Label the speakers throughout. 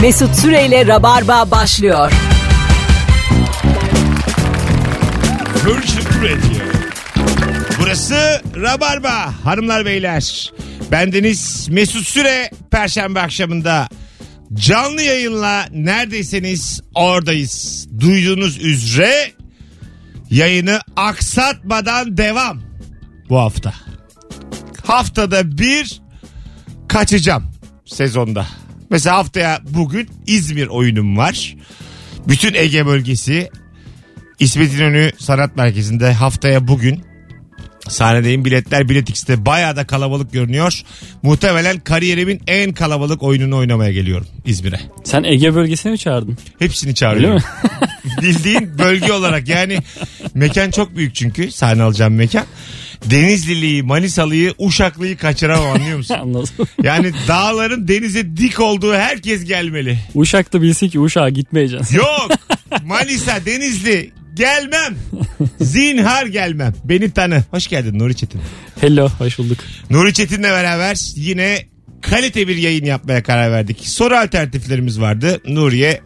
Speaker 1: Mesut Süreyle Rabarba başlıyor.
Speaker 2: Virgin Radio. Burası Rabarba hanımlar beyler. Bendeniz Mesut Süre Perşembe akşamında canlı yayınla neredeyseniz oradayız. Duyduğunuz üzere yayını aksatmadan devam bu hafta. Haftada bir kaçacağım sezonda. Mesela haftaya bugün İzmir oyunum var. Bütün Ege bölgesi İsmet İnönü Sanat Merkezi'nde haftaya bugün sahnedeyim. Biletler Bilet X'te bayağı da kalabalık görünüyor. Muhtemelen kariyerimin en kalabalık oyununu oynamaya geliyorum İzmir'e.
Speaker 3: Sen Ege bölgesine mi çağırdın?
Speaker 2: Hepsini çağırıyorum. Bildiğin bölge olarak yani mekan çok büyük çünkü sahne alacağım mekan. Denizlili'yi, Manisalı'yı, Uşaklı'yı kaçıramam anlıyor musun?
Speaker 3: Anladım.
Speaker 2: Yani dağların denize dik olduğu herkes gelmeli.
Speaker 3: Uşak'ta bilse ki Uşak'a gitmeyeceksin.
Speaker 2: Yok. Manisa, Denizli. Gelmem. Zinhar gelmem. Beni tanı. Hoş geldin Nuri Çetin.
Speaker 3: Hello, hoş bulduk.
Speaker 2: Nuri Çetin'le beraber yine kalite bir yayın yapmaya karar verdik. Soru alternatiflerimiz vardı. Nuri'ye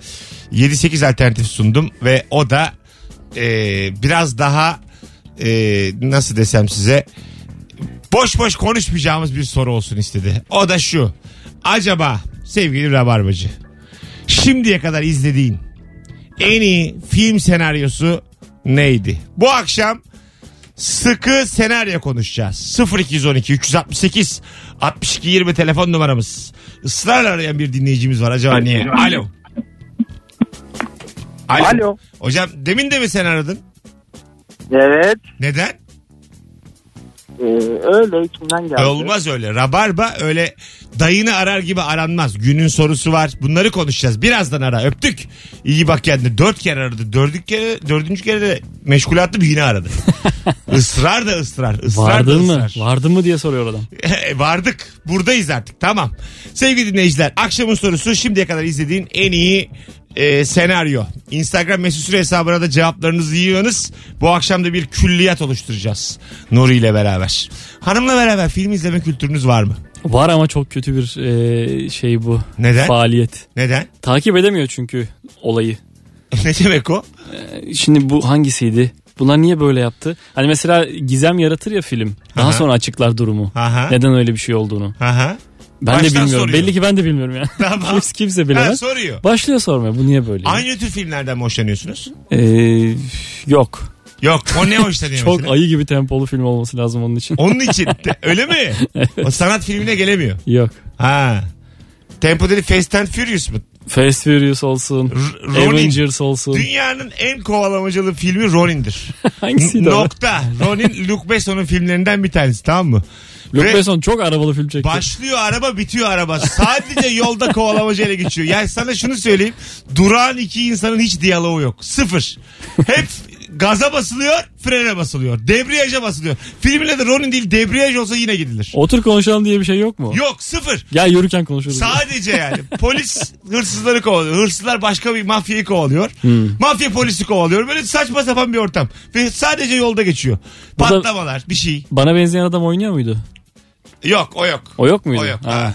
Speaker 2: 7-8 alternatif sundum ve o da e, biraz daha e, nasıl desem size boş boş konuşmayacağımız bir soru olsun istedi. O da şu. Acaba sevgili Rabarbacı şimdiye kadar izlediğin en iyi film senaryosu neydi? Bu akşam sıkı senaryo konuşacağız. 0212 368 62 20 telefon numaramız. Israrla arayan bir dinleyicimiz var acaba niye? Alo. Alo.
Speaker 4: Alo.
Speaker 2: Hocam demin de mi sen aradın?
Speaker 4: Evet.
Speaker 2: Neden?
Speaker 4: Ee, öyle içimden geldi.
Speaker 2: Olmaz öyle. Rabarba öyle dayını arar gibi aranmaz. Günün sorusu var. Bunları konuşacağız. Birazdan ara. Öptük. İyi bak kendine. Dört kere aradı. Dördüncü kere, dördüncü kere de meşgulatlı bir yine aradı. Israr da ısrar. Israr
Speaker 3: Vardın
Speaker 2: da
Speaker 3: mı?
Speaker 2: ısrar.
Speaker 3: Vardın mı diye soruyor adam.
Speaker 2: E, Vardık. Buradayız artık. Tamam. Sevgili dinleyiciler akşamın sorusu şimdiye kadar izlediğin en iyi e, senaryo. Instagram mesut süre hesabına da cevaplarınızı yığınız. Bu akşam da bir külliyat oluşturacağız. Nuri ile beraber. Hanımla beraber film izleme kültürünüz var mı?
Speaker 3: Var ama çok kötü bir e, şey bu.
Speaker 2: Neden?
Speaker 3: Faaliyet.
Speaker 2: Neden?
Speaker 3: Takip edemiyor çünkü olayı.
Speaker 2: ne demek o?
Speaker 3: Şimdi bu hangisiydi? Bunlar niye böyle yaptı? Hani mesela gizem yaratır ya film. Daha
Speaker 2: Aha.
Speaker 3: sonra açıklar durumu.
Speaker 2: Aha.
Speaker 3: Neden öyle bir şey olduğunu.
Speaker 2: Aha.
Speaker 3: Ben
Speaker 2: Baştan
Speaker 3: de bilmiyorum.
Speaker 2: soruyor.
Speaker 3: Belli ki ben de bilmiyorum yani.
Speaker 2: Tamam.
Speaker 3: Kimse, kimse
Speaker 2: Ha,
Speaker 3: bilemez.
Speaker 2: soruyor.
Speaker 3: Başlıyor sormaya. Bu niye böyle?
Speaker 2: Aynı tür filmlerden mi hoşlanıyorsunuz?
Speaker 3: Ee, yok.
Speaker 2: Yok. O ne hoşlanıyor
Speaker 3: Çok
Speaker 2: mesela?
Speaker 3: ayı gibi tempolu film olması lazım onun için.
Speaker 2: Onun için. de- Öyle mi? O sanat filmine gelemiyor.
Speaker 3: Yok.
Speaker 2: Ha. Tempo dedi Fast and Furious mu?
Speaker 3: Fast Furious olsun.
Speaker 2: R- Ronin.
Speaker 3: Avengers olsun.
Speaker 2: Dünyanın en kovalamacılı filmi Ronin'dir.
Speaker 3: Hangisiydi o?
Speaker 2: Nokta. Ronin Luc Besson'un filmlerinden bir tanesi tamam mı?
Speaker 3: Luc
Speaker 2: Ve
Speaker 3: Besson çok arabalı film çekti.
Speaker 2: Başlıyor araba bitiyor araba. Sadece yolda kovalamacı ele geçiyor. Yani sana şunu söyleyeyim. Durağın iki insanın hiç diyaloğu yok. Sıfır. Hep gaza basılıyor, frene basılıyor. Debriyaja basılıyor. Filmle de Ronin değil debriyaj olsa yine gidilir.
Speaker 3: Otur konuşalım diye bir şey yok mu?
Speaker 2: Yok sıfır.
Speaker 3: Gel yürürken konuşuruz.
Speaker 2: Sadece yani polis hırsızları kovalıyor. Hırsızlar başka bir mafyayı kovalıyor. Mafya polisi kovalıyor. Böyle saçma sapan bir ortam. Ve sadece yolda geçiyor.
Speaker 3: Bu da-
Speaker 2: Patlamalar bir şey.
Speaker 3: Bana benzeyen adam oynuyor muydu?
Speaker 2: Yok o yok.
Speaker 3: O yok muydu?
Speaker 2: O yok.
Speaker 3: Ha.
Speaker 2: Ha.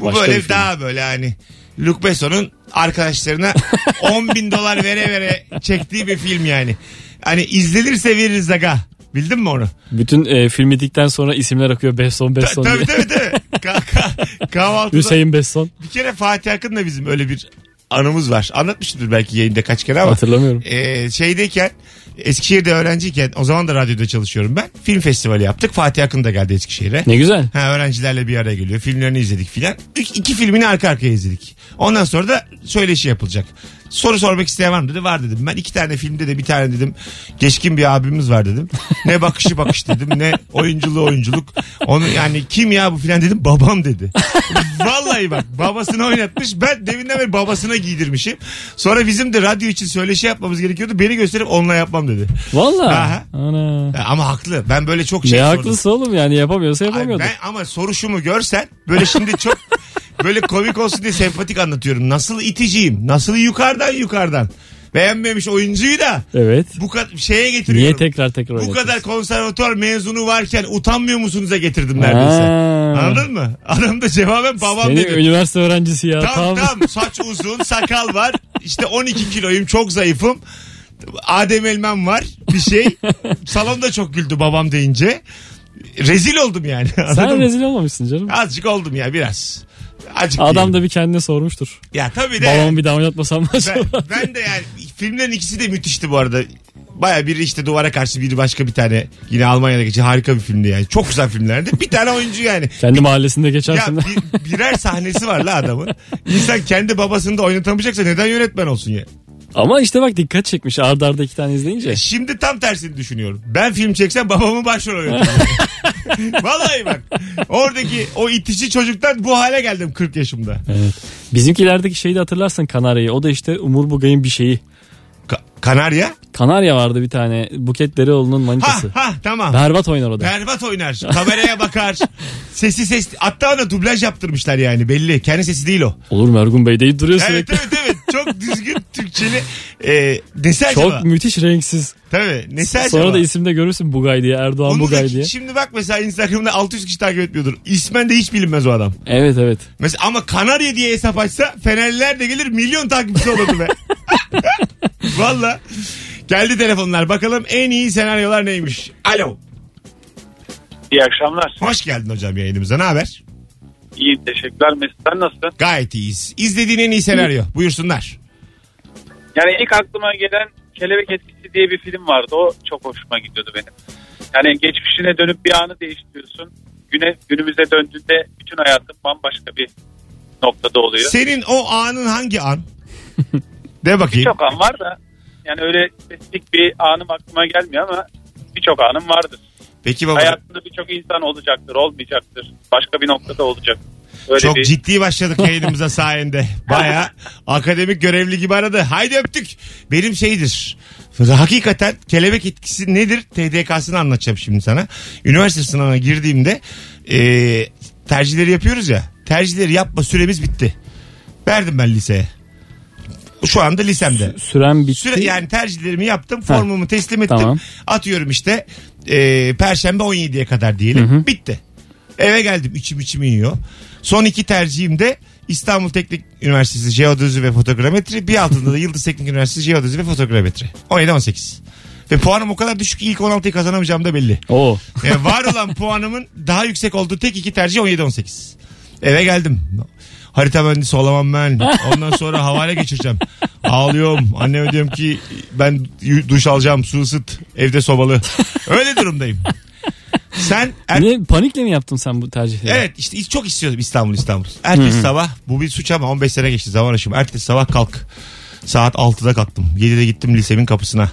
Speaker 2: Bu
Speaker 3: Başka
Speaker 2: böyle
Speaker 3: bir film.
Speaker 2: daha böyle hani Luke Besson'un arkadaşlarına 10 bin dolar vere vere çektiği bir film yani. Hani izlenirse veririz aga. Bildin mi onu?
Speaker 3: Bütün e, film bittikten sonra isimler akıyor. Besson,
Speaker 2: Ta-
Speaker 3: Besson diye.
Speaker 2: tabii tabii tabii. Ka- ka- kahvaltıda
Speaker 3: Hüseyin Besson.
Speaker 2: bir kere Fatih Akın'la bizim öyle bir anımız var. Anlatmışımdır belki yayında kaç kere ama.
Speaker 3: Hatırlamıyorum.
Speaker 2: Ee, şeydeyken Eskişehir'de öğrenciyken o zaman da radyoda çalışıyorum ben. Film festivali yaptık. Fatih Akın da geldi Eskişehir'e.
Speaker 3: Ne güzel.
Speaker 2: Ha, öğrencilerle bir araya geliyor. Filmlerini izledik filan. İki, iki filmini arka arkaya izledik. Ondan sonra da söyleşi yapılacak. Soru sormak isteyen var mı dedi. Var dedim. Ben iki tane filmde de bir tane dedim. Geçkin bir abimiz var dedim. Ne bakışı bakış dedim. Ne oyunculuğu oyunculuk. Onu yani kim ya bu filan dedim. Babam dedi. Vallahi bak babasını oynatmış. Ben deminden beri babasına giydirmişim. Sonra bizim de radyo için söyleşi yapmamız gerekiyordu. Beni gösterip onunla yapmam dedi.
Speaker 3: Valla.
Speaker 2: Aha.
Speaker 3: Ana.
Speaker 2: Ya Ama haklı. Ben böyle çok şey
Speaker 3: ne
Speaker 2: sordum.
Speaker 3: haklısın oğlum yani yapamıyorsa
Speaker 2: Ay
Speaker 3: yapamıyordu.
Speaker 2: ben ama soruşumu görsen böyle şimdi çok böyle komik olsun diye sempatik anlatıyorum. Nasıl iticiyim? Nasıl yukarıdan yukarıdan? Beğenmemiş oyuncuyu da
Speaker 3: Evet.
Speaker 2: bu kadar şeye getiriyorum.
Speaker 3: Niye tekrar tekrar
Speaker 2: bu kadar
Speaker 3: oynatıyorsun?
Speaker 2: konservatuar mezunu varken utanmıyor musunuza getirdim neredeyse.
Speaker 3: Ha.
Speaker 2: Anladın mı? Adam da cevaben babam
Speaker 3: Seni
Speaker 2: dedi.
Speaker 3: üniversite öğrencisi ya.
Speaker 2: Tam
Speaker 3: Tam,
Speaker 2: tam saç uzun sakal var işte 12 kiloyum çok zayıfım Adem Elmem var bir şey salonda çok güldü babam deyince rezil oldum yani anladın
Speaker 3: Sen
Speaker 2: mı?
Speaker 3: rezil olmamışsın canım.
Speaker 2: azıcık oldum ya biraz azıcık
Speaker 3: Adam
Speaker 2: diyeyim.
Speaker 3: da bir kendine sormuştur.
Speaker 2: ya tabii de
Speaker 3: Babamı bir daha oynatmasam mı
Speaker 2: ben,
Speaker 3: acaba?
Speaker 2: ben de yani filmlerin ikisi de müthişti bu arada Baya biri işte duvara karşı biri başka bir tane yine Almanya'da geçen harika bir filmdi yani. Çok güzel filmlerdi. Bir tane oyuncu yani.
Speaker 3: Kendi mahallesinde
Speaker 2: Ya
Speaker 3: geçersin.
Speaker 2: bir- birer sahnesi var la adamın. İnsan kendi babasını da oynatamayacaksa neden yönetmen olsun ya?
Speaker 3: Ama işte bak dikkat çekmiş arda arda iki tane izleyince.
Speaker 2: Şimdi tam tersini düşünüyorum. Ben film çeksem babamı başrol oynatırım. Vallahi bak. Oradaki o itişi çocuktan bu hale geldim 40 yaşımda.
Speaker 3: Evet. Bizimkilerdeki şeyi de hatırlarsın Kanarya'yı. O da işte Umur Bugay'ın bir şeyi.
Speaker 2: Ka- Kanarya?
Speaker 3: Kanarya vardı bir tane. Buket Derioğlu'nun
Speaker 2: Ha
Speaker 3: manitası.
Speaker 2: ha tamam.
Speaker 3: Berbat oynar o da.
Speaker 2: Berbat oynar. Kameraya bakar. sesi ses. Hatta ona dublaj yaptırmışlar yani belli. Kendi sesi değil o.
Speaker 3: Olur mu Ergun Bey deyip duruyor
Speaker 2: Evet
Speaker 3: sürekli.
Speaker 2: evet evet. Çok düzgün Türkçeli. E, nesi
Speaker 3: Çok
Speaker 2: acaba?
Speaker 3: müthiş renksiz.
Speaker 2: Tabii. Nesi acaba?
Speaker 3: Sonra da isimde görürsün Bugay diye Erdoğan
Speaker 2: Bunu da
Speaker 3: Bugay diye.
Speaker 2: şimdi bak mesela Instagram'da 600 kişi takip etmiyordur. İsmen de hiç bilinmez o adam.
Speaker 3: Evet evet.
Speaker 2: Mesela ama Kanarya diye hesap açsa Fenerliler de gelir milyon takipçisi olurdu be. Valla. Geldi telefonlar. Bakalım en iyi senaryolar neymiş? Alo.
Speaker 5: İyi akşamlar.
Speaker 2: Hoş geldin hocam yayınımıza. Ne haber?
Speaker 5: İyi teşekkürler. Mesut sen nasılsın?
Speaker 2: Gayet iyiyiz. İzlediğin en iyi senaryo. Buyursunlar.
Speaker 5: Yani ilk aklıma gelen Kelebek Etkisi diye bir film vardı. O çok hoşuma gidiyordu benim. Yani geçmişine dönüp bir anı değiştiriyorsun. Güne, günümüze döndüğünde bütün hayatın bambaşka bir noktada oluyor.
Speaker 2: Senin o anın hangi an? De bakayım.
Speaker 5: Birçok an var da yani öyle spesifik bir anım aklıma gelmiyor ama birçok anım vardır.
Speaker 2: Peki baba.
Speaker 5: Hayatında birçok insan olacaktır, olmayacaktır. Başka bir noktada olacak. Öyle
Speaker 2: Çok
Speaker 5: bir...
Speaker 2: ciddi başladık yayınımıza sayende. Baya akademik görevli gibi aradı. Haydi öptük. Benim şeydir. Hakikaten kelebek etkisi nedir? TDK'sını anlatacağım şimdi sana. Üniversite sınavına girdiğimde e, tercihleri yapıyoruz ya. Tercihleri yapma süremiz bitti. Verdim ben liseye. Şu anda lisemde.
Speaker 3: Süren bitti.
Speaker 2: Süre, yani tercihlerimi yaptım. Formumu teslim ettim.
Speaker 3: Tamam.
Speaker 2: Atıyorum işte e, Perşembe 17'ye kadar diyelim. Bitti. Eve geldim. içim içim yiyor. Son iki tercihim de İstanbul Teknik Üniversitesi Jeodezi ve Fotogrametri. Bir altında da Yıldız Teknik Üniversitesi Jeodezi ve Fotogrametri. 17-18. Ve puanım o kadar düşük ki ilk 16'yı kazanamayacağım da belli.
Speaker 3: Oo.
Speaker 2: E, var olan puanımın daha yüksek olduğu tek iki tercih 17-18. Eve geldim. Harita mühendisi olamam ben. Ondan sonra havale geçireceğim. Ağlıyorum. Anneme diyorum ki ben yu- duş alacağım. Su ısıt. Evde sobalı. Öyle durumdayım. Sen er-
Speaker 3: Ne panikle mi yaptın sen bu tercihleri?
Speaker 2: Evet işte çok istiyordum İstanbul İstanbul. Ertesi sabah bu bir suç ama 15 sene geçti zaman aşımı. Ertesi sabah kalk. Saat 6'da kalktım. 7'de gittim lisemin kapısına.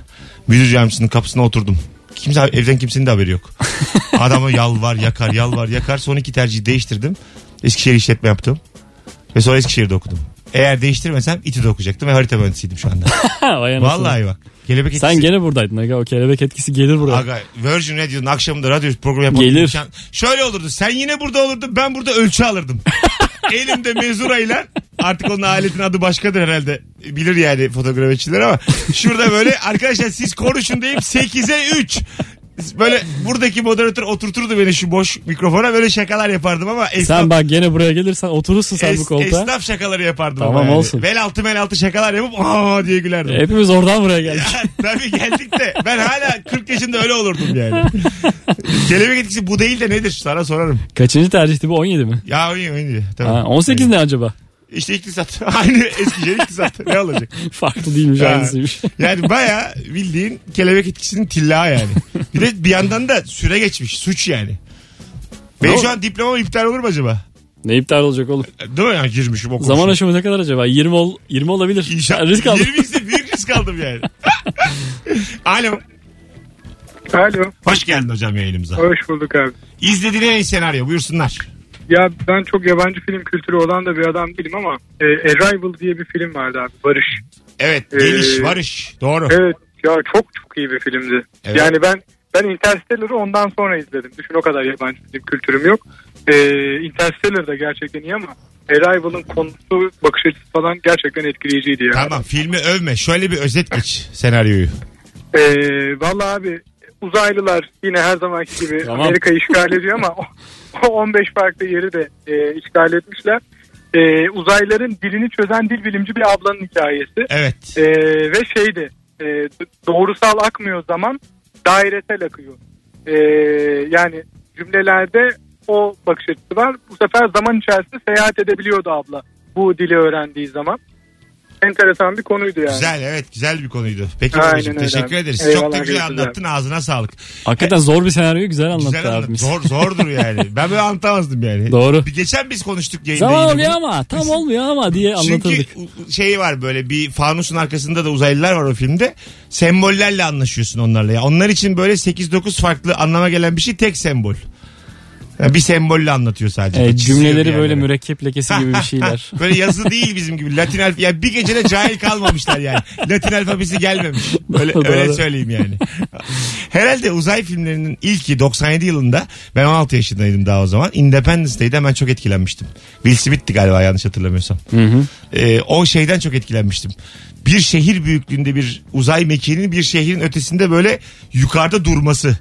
Speaker 2: Müdür yardımcısının kapısına oturdum. Kimse evden kimsenin de haberi yok. Adama yalvar yakar yalvar yakar. Son iki tercihi değiştirdim. Eskişehir işletme yaptım. Ve sonra Eskişehir'de okudum. Eğer değiştirmesem İTÜ'de okuyacaktım ve harita mühendisiydim şu anda.
Speaker 3: Ha, vay anasını.
Speaker 2: Vallahi bak. Kelebek
Speaker 3: Sen
Speaker 2: etkisi-
Speaker 3: gene buradaydın aga o kelebek etkisi gelir buraya.
Speaker 2: Aga Virgin Radio'nun akşamında radyo programı yapalım.
Speaker 3: Gelir.
Speaker 2: İmkan- Şöyle olurdu. Sen yine burada olurdun. Ben burada ölçü alırdım. Elimde mezurayla artık onun aletin adı başkadır herhalde. Bilir yani fotoğrafçılar ama şurada böyle arkadaşlar siz konuşun deyip 8'e 3 böyle buradaki moderatör oturturdu beni şu boş mikrofona böyle şakalar yapardım ama esnaf,
Speaker 3: sen bak gene buraya gelirsen oturursun sen bu
Speaker 2: es-
Speaker 3: koltuğa.
Speaker 2: esnaf şakaları yapardım.
Speaker 3: Tamam,
Speaker 2: ama yani.
Speaker 3: olsun.
Speaker 2: Bel altı bel altı şakalar yapıp aa diye gülerdim.
Speaker 3: Hepimiz oradan buraya geldik.
Speaker 2: Ya, tabii geldik de ben hala 40 yaşında öyle olurdum yani. Kelebek etkisi bu değil de nedir sana sorarım.
Speaker 3: Kaçıncı tercihti bu 17 mi?
Speaker 2: Ya oyun oyun diye. Tamam.
Speaker 3: Ha, 18 ne acaba?
Speaker 2: İşte iktisat. Aynı Eskişehir iktisat. Ne olacak?
Speaker 3: Farklı değilmiş
Speaker 2: Ha.
Speaker 3: aynısıymış.
Speaker 2: Yani baya bildiğin kelebek etkisinin tilla yani. Bir de bir yandan da süre geçmiş. Suç yani. Benim
Speaker 3: Ne
Speaker 2: şu an diplomam iptal olur mu acaba?
Speaker 3: ne iptal olacak oğlum?
Speaker 2: Değil mi yani girmişim okumuşum.
Speaker 3: Zaman aşımı ne kadar acaba? 20 ol 20 olabilir.
Speaker 2: İnşaat.
Speaker 3: Risk aldım.
Speaker 2: 20 ise büyük risk aldım yani. Alo.
Speaker 6: Alo.
Speaker 2: Hoş geldin hocam yayınımıza.
Speaker 6: Hoş bulduk abi.
Speaker 2: İzlediğin en iyi senaryo buyursunlar.
Speaker 6: Ya ben çok yabancı film kültürü olan da bir adam değilim ama e, Arrival diye bir film vardı abi. Barış.
Speaker 2: Evet geliş
Speaker 6: Ee,
Speaker 2: varış doğru.
Speaker 6: Evet ya çok çok iyi bir filmdi.
Speaker 2: Evet.
Speaker 6: Yani ben ben Interstellar'ı ondan sonra izledim. Düşün o kadar yabancı film kültürüm yok. E, Interstellar da gerçekten iyi ama Arrival'ın konusu bakış açısı falan gerçekten etkileyiciydi ya.
Speaker 2: Tamam filmi övme. Şöyle bir özet geç senaryoyu.
Speaker 6: Ee, Valla abi uzaylılar yine her zamanki gibi
Speaker 3: Tamam.
Speaker 6: Amerika işgal ediyor ama o 15 farklı yeri de e, işgal etmişler. E, uzaylıların dilini çözen dil bilimci bir ablanın hikayesi.
Speaker 2: Evet.
Speaker 6: E, ve şeydi e, doğrusal akmıyor zaman dairesel akıyor. E, yani cümlelerde o bakış açısı var. Bu sefer zaman içerisinde seyahat edebiliyordu abla bu dili öğrendiği zaman. Enteresan bir konuydu yani.
Speaker 2: Güzel evet güzel bir konuydu. Peki
Speaker 6: Aynen
Speaker 2: babacığım
Speaker 6: öyle
Speaker 2: teşekkür
Speaker 6: abi.
Speaker 2: ederiz. Çok da
Speaker 6: Eyvallah,
Speaker 2: güzel
Speaker 6: görüşürüz abi.
Speaker 2: anlattın ağzına sağlık.
Speaker 3: Hakikaten zor bir senaryoyu güzel anlattı
Speaker 2: Güzel anlattın.
Speaker 3: abimiz.
Speaker 2: Zor, zordur yani. Ben böyle anlatamazdım yani.
Speaker 3: Doğru.
Speaker 2: Bir geçen biz konuştuk yayında.
Speaker 3: Zaman
Speaker 2: yine
Speaker 3: oluyor
Speaker 2: bunu.
Speaker 3: ama tam olmuyor ama diye
Speaker 2: Çünkü
Speaker 3: anlatırdık.
Speaker 2: şey var böyle bir fanusun arkasında da uzaylılar var o filmde. Sembollerle anlaşıyorsun onlarla. ya. Onlar için böyle 8-9 farklı anlama gelen bir şey tek sembol. Yani bir sembolle anlatıyor sadece.
Speaker 3: E,
Speaker 2: Çiziyor bir
Speaker 3: cümleleri
Speaker 2: yerlere.
Speaker 3: böyle mürekkep lekesi gibi bir şeyler.
Speaker 2: böyle yazı değil bizim gibi. Latin alfabe. Yani bir gecede cahil kalmamışlar yani. Latin alfabesi gelmemiş. Öyle,
Speaker 3: Doğru.
Speaker 2: öyle söyleyeyim yani. Herhalde uzay filmlerinin ilki 97 yılında ben 16 yaşındaydım daha o zaman. Independence Day'de hemen çok etkilenmiştim. Will Smith'ti galiba yanlış hatırlamıyorsam. Ee, o şeyden çok etkilenmiştim. Bir şehir büyüklüğünde bir uzay mekiğinin bir şehrin ötesinde böyle yukarıda durması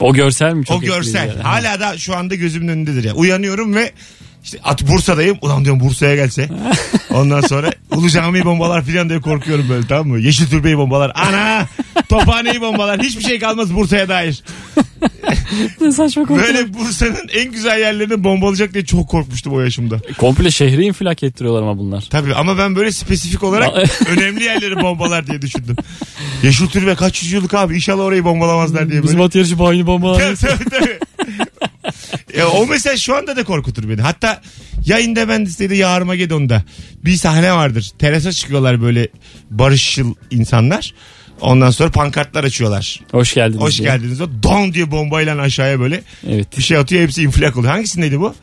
Speaker 3: O görsel mi çok
Speaker 2: o görsel.
Speaker 3: etkileyici?
Speaker 2: Hala da şu anda gözümün önündedir ya. Uyanıyorum ve işte at Bursa'dayım. Ulan diyorum Bursa'ya gelse. Ondan sonra Ulu Cami'yi bombalar filan diye korkuyorum böyle tamam mı? Yeşil Türbe'yi bombalar. Ana! Tophane'yi bombalar. Hiçbir şey kalmaz Bursa'ya dair.
Speaker 3: Ne saçma korku.
Speaker 2: Böyle Bursa'nın en güzel yerlerini bombalayacak diye çok korkmuştum o
Speaker 3: E,
Speaker 2: yaşımda.
Speaker 3: Komple şehri infilak ettiriyorlar ama bunlar.
Speaker 2: Tabii ama ben böyle spesifik olarak önemli yerleri bombalar diye düşündüm. Yeşil Türbe kaç yüzyıllık abi inşallah orayı bombalamazlar diye böyle.
Speaker 3: Bizim at yarışı bahini bomba.
Speaker 2: Tabii, tabii, tabii. Ya o mesela şu anda da korkutur beni. Hatta yayında ben istedi ya Armageddon'da bir sahne vardır. Terasa çıkıyorlar böyle barışçıl insanlar. Ondan sonra pankartlar açıyorlar.
Speaker 3: Hoş geldiniz.
Speaker 2: Hoş
Speaker 3: diye.
Speaker 2: geldiniz. O don diye bombayla aşağıya böyle
Speaker 3: Evet.
Speaker 2: bir şey atıyor hepsi infilak oluyor. Hangisindeydi bu?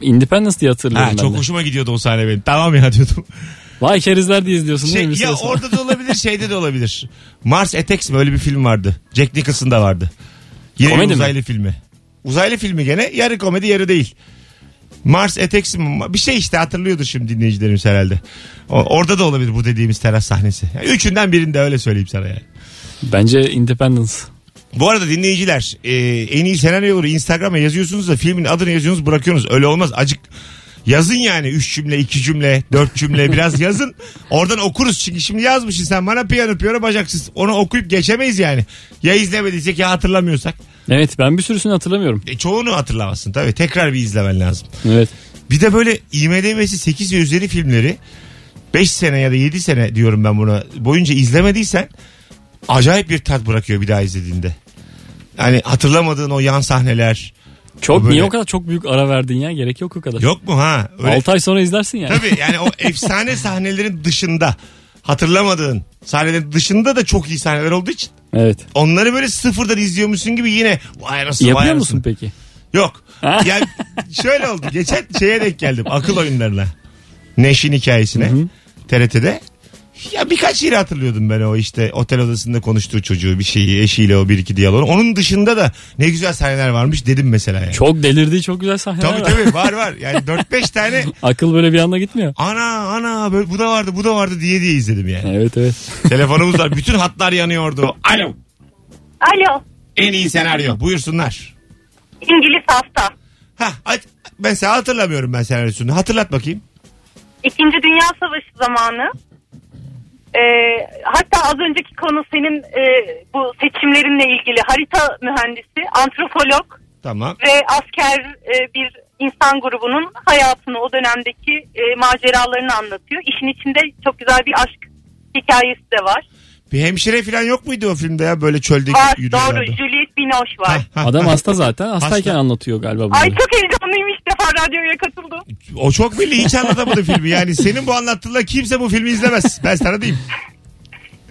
Speaker 3: Independence diye hatırlıyorum
Speaker 2: Ha,
Speaker 3: ben
Speaker 2: çok
Speaker 3: de.
Speaker 2: hoşuma gidiyordu o sahne benim. Tamam ya diyordum.
Speaker 3: Vay kerizler diye izliyorsun
Speaker 2: Şey,
Speaker 3: değil mi? bir süre
Speaker 2: ya
Speaker 3: sonra?
Speaker 2: orada da olabilir şeyde de olabilir. Mars Attacks mi öyle bir film vardı. Jack Nicholson'da vardı. Yine
Speaker 3: Komedi
Speaker 2: bir
Speaker 3: mi?
Speaker 2: uzaylı filmi. Uzaylı filmi gene yarı komedi yarı değil. Mars Attacks mi? Bir şey işte hatırlıyordur şimdi dinleyicilerimiz herhalde. O- orada da olabilir bu dediğimiz teras sahnesi. Yani üçünden birinde öyle söyleyeyim sana yani.
Speaker 3: Bence Independence.
Speaker 2: Bu arada dinleyiciler e, en iyi senaryoları Instagram'a yazıyorsunuz da filmin adını yazıyorsunuz bırakıyorsunuz. Öyle olmaz acık yazın yani 3 cümle 2 cümle 4 cümle biraz yazın. Oradan okuruz çünkü şimdi yazmışsın sen bana piyano piyano bacaksız. Onu okuyup geçemeyiz yani. Ya izlemediysek ya hatırlamıyorsak.
Speaker 3: Evet ben bir sürüsünü hatırlamıyorum.
Speaker 2: E, çoğunu hatırlamazsın tabii tekrar bir izlemen lazım.
Speaker 3: Evet.
Speaker 2: Bir de böyle IMDb'si 8 ve üzeri filmleri 5 sene ya da 7 sene diyorum ben buna boyunca izlemediysen acayip bir tat bırakıyor bir daha izlediğinde. Yani hatırlamadığın o yan sahneler
Speaker 3: Çok
Speaker 2: Böyle-
Speaker 3: niye o kadar çok büyük ara verdin ya? Gerek yok o kadar.
Speaker 2: yok mu ha? Öyle,
Speaker 3: 6 ay sonra izlersin yani.
Speaker 2: tabii yani o efsane sahnelerin dışında hatırlamadığın sahnelerin dışında da çok iyi sahneler olduğu için
Speaker 3: Evet.
Speaker 2: onları böyle sıfırdan izliyormuşsun gibi yine vay nasıl vay
Speaker 3: Yapıyor
Speaker 2: nasıl.
Speaker 3: musun peki?
Speaker 2: Yok. Yani şöyle oldu. Geçen şeye denk geldim. Akıl oyunlarına. Neşin hikayesine. TRT'de. Ya birkaç yeri hatırlıyordum ben o işte otel odasında konuştuğu çocuğu bir şeyi eşiyle o bir iki diyaloğunu. Onun dışında da ne güzel sahneler varmış dedim mesela yani.
Speaker 3: Çok delirdiği çok güzel sahneler
Speaker 2: tabii
Speaker 3: var.
Speaker 2: tabii var var. Yani 4-5 tane
Speaker 3: Akıl böyle bir anda gitmiyor.
Speaker 2: ana ana böyle, bu da vardı bu da vardı diye diye izledim yani.
Speaker 3: Evet evet.
Speaker 2: Telefonumuz var. Bütün hatlar yanıyordu. Alo.
Speaker 7: Alo,
Speaker 2: En iyi senaryo. Buyursunlar.
Speaker 7: İngiliz hafta.
Speaker 2: Ha, mesela hatırlamıyorum ben senaryosunu. Hatırlat bakayım.
Speaker 7: İkinci Dünya Savaşı zamanı. Ee, hatta az önceki konu senin e, bu seçimlerinle ilgili harita mühendisi, antropolog
Speaker 2: Tamam.
Speaker 7: ve asker e, bir insan grubunun hayatını o dönemdeki e, maceralarını anlatıyor. İşin içinde çok güzel bir aşk hikayesi de var.
Speaker 2: Bir hemşire falan yok muydu o filmde ya böyle çölde
Speaker 7: Var
Speaker 2: yürüyorlardı?
Speaker 7: doğru Juliet Binoche var.
Speaker 3: Adam hasta zaten. Hastayken
Speaker 2: Hasta.
Speaker 3: anlatıyor galiba
Speaker 7: Ay
Speaker 3: bunları.
Speaker 7: çok heyecanlıyım ilk defa radyoya katıldım.
Speaker 2: O çok belli hiç anlatamadı filmi. Yani senin bu anlattığınla kimse bu filmi izlemez. Ben sana diyeyim.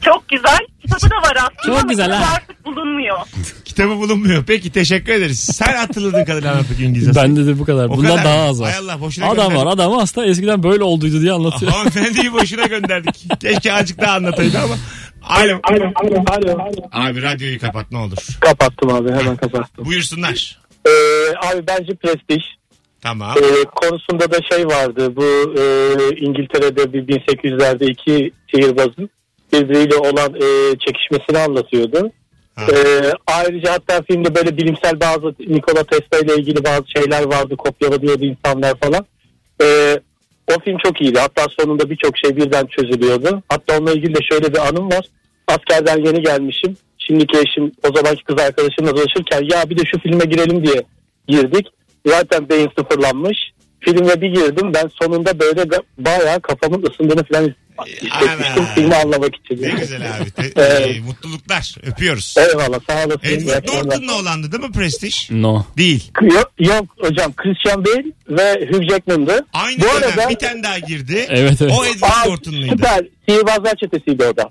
Speaker 7: Çok güzel. Kitabı da var aslında
Speaker 3: Çok
Speaker 7: ama
Speaker 3: güzel
Speaker 7: kitabı
Speaker 3: ha.
Speaker 7: artık bulunmuyor.
Speaker 2: Kitabı bulunmuyor. Peki teşekkür ederiz. Sen hatırladığın kadarıyla anlattık İngilizce.
Speaker 3: Bende de bu kadar.
Speaker 2: O
Speaker 3: Bundan
Speaker 2: kadar.
Speaker 3: daha az var.
Speaker 2: Hay Allah, boşuna
Speaker 3: adam
Speaker 2: gönder.
Speaker 3: var adam hasta eskiden böyle olduydu diye anlatıyor.
Speaker 2: Hanımefendiyi boşuna gönderdik. Keşke azıcık daha anlataydı ama. Alo.
Speaker 4: Alo, alo, alo.
Speaker 2: Abi radyoyu kapat ne olur.
Speaker 4: Kapattım abi hemen kapattım.
Speaker 2: Buyursunlar.
Speaker 4: Ee, abi bence prestij.
Speaker 2: Tamam.
Speaker 8: Ee, konusunda da şey vardı bu e, İngiltere'de bir 1800'lerde iki sihirbazın birbiriyle olan e, çekişmesini anlatıyordu.
Speaker 2: Ha.
Speaker 8: Ee, ayrıca hatta filmde böyle bilimsel bazı Nikola Tesla ile ilgili bazı şeyler vardı kopyala diyordu insanlar falan. Ee, o film çok iyiydi. Hatta sonunda birçok şey birden çözülüyordu. Hatta onunla ilgili de şöyle bir anım var. Askerden yeni gelmişim. Şimdiki eşim o zamanki kız arkadaşımla dolaşırken ya bir de şu filme girelim diye girdik. Zaten beyin sıfırlanmış. Filme bir girdim ben sonunda böyle ga- bayağı kafamın ısındığını falan hissetmiştim
Speaker 2: Ana.
Speaker 8: filmi anlamak için.
Speaker 2: Ne güzel abi. Te-
Speaker 8: Evet.
Speaker 2: e, mutluluklar. Öpüyoruz.
Speaker 8: Eyvallah sağ olasın. İyi
Speaker 2: Edward
Speaker 8: akşamlar.
Speaker 2: Norton'la olandı değil mi Prestige?
Speaker 3: No.
Speaker 2: Değil.
Speaker 8: Yok, yok hocam Christian Bale ve Hugh Jackman'dı.
Speaker 2: Aynı
Speaker 8: Bu
Speaker 2: dönem
Speaker 8: arada-
Speaker 2: bir tane daha girdi.
Speaker 3: Evet, evet.
Speaker 2: O Edward
Speaker 8: Aa,
Speaker 2: Norton'luydu.
Speaker 8: Süper. Sihirbazlar çetesiydi o da.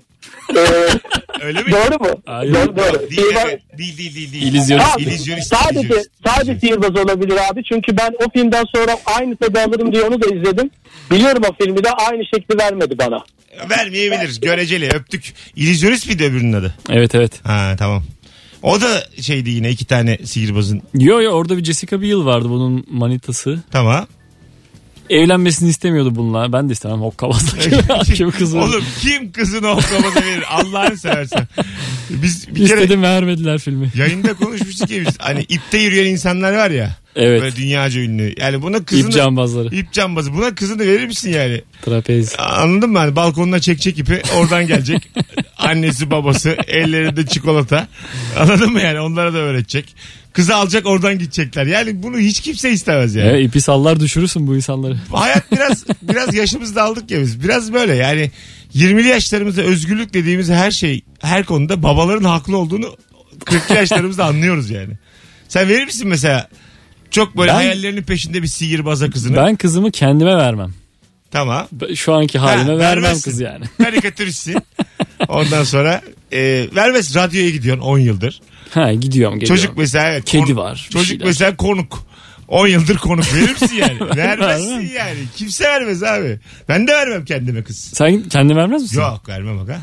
Speaker 8: Ee,
Speaker 2: Öyle mi?
Speaker 8: doğru mu?
Speaker 3: Hayır.
Speaker 8: Doğru, doğru.
Speaker 2: Değil,
Speaker 8: Sihirbaz-
Speaker 2: evet. değil değil değil. değil.
Speaker 3: İllüzyonist.
Speaker 8: Abi,
Speaker 2: İllüzyonist,
Speaker 8: sadece
Speaker 2: illüzyonist,
Speaker 8: sadece sihirbaz olabilir abi. Çünkü ben o filmden sonra aynı tadı alırım diye onu da izledim. Biliyorum o filmi de aynı şekli vermedi bana.
Speaker 2: Vermeyebiliriz. Göreceli. Öptük. İllüzyonist bir de öbürünün adı.
Speaker 3: Evet evet.
Speaker 2: Ha tamam. O da şeydi yine iki tane sihirbazın.
Speaker 3: Yo yo orada bir Jessica Biel vardı bunun manitası.
Speaker 2: Tamam.
Speaker 3: Evlenmesini istemiyordu bununla. Ben de istemem hokkabazla. Kim kızı?
Speaker 2: Oğlum kim kızını oklamada verir Allah'ını seversen. Biz bir kere
Speaker 3: İstedim vermediler filmi.
Speaker 2: yayında konuşmuştuk ya biz. Hani ipte yürüyen insanlar var ya.
Speaker 3: Evet.
Speaker 2: Böyle dünyaca ünlü. Yani buna kızını...
Speaker 3: İp cambazları.
Speaker 2: İp cambazı. Buna kızını verir misin yani?
Speaker 3: Trapez.
Speaker 2: Anladın mı? Hani balkonuna çekecek ipi oradan gelecek. Annesi babası ellerinde çikolata. Anladın mı yani? Onlara da öğretecek. Kızı alacak oradan gidecekler. Yani bunu hiç kimse istemez yani.
Speaker 3: E, ipi sallar düşürürsün bu insanları.
Speaker 2: Hayat biraz biraz yaşımızda aldık ya biz. Biraz böyle yani 20'li yaşlarımızda özgürlük dediğimiz her şey her konuda babaların haklı olduğunu 40'lı yaşlarımızda anlıyoruz yani. Sen verir misin mesela çok böyle
Speaker 3: Ben-
Speaker 2: hayallerinin peşinde bir sihirbaza kızını?
Speaker 3: Ben kızımı kendime vermem.
Speaker 2: Tamam.
Speaker 3: Ben- Şu anki halime
Speaker 2: Ha,
Speaker 3: vermem
Speaker 2: vermezsin.
Speaker 3: kız yani.
Speaker 2: Karikatüristsin. Ondan sonra e, vermez radyoya gidiyorsun 10 yıldır.
Speaker 3: Ha gidiyorum geliyorum.
Speaker 2: Çocuk mesela evet,
Speaker 3: Kedi
Speaker 2: konuk.
Speaker 3: var, bir
Speaker 2: Çocuk
Speaker 3: şeyler.
Speaker 2: mesela konuk. 10 yıldır konuk verir misin yani? Vermezsin
Speaker 3: Vermem.
Speaker 2: yani. Kimse vermez abi. Ben de vermem kendime kız.
Speaker 3: Sen kendin vermez misin?
Speaker 2: Yok vermem aga.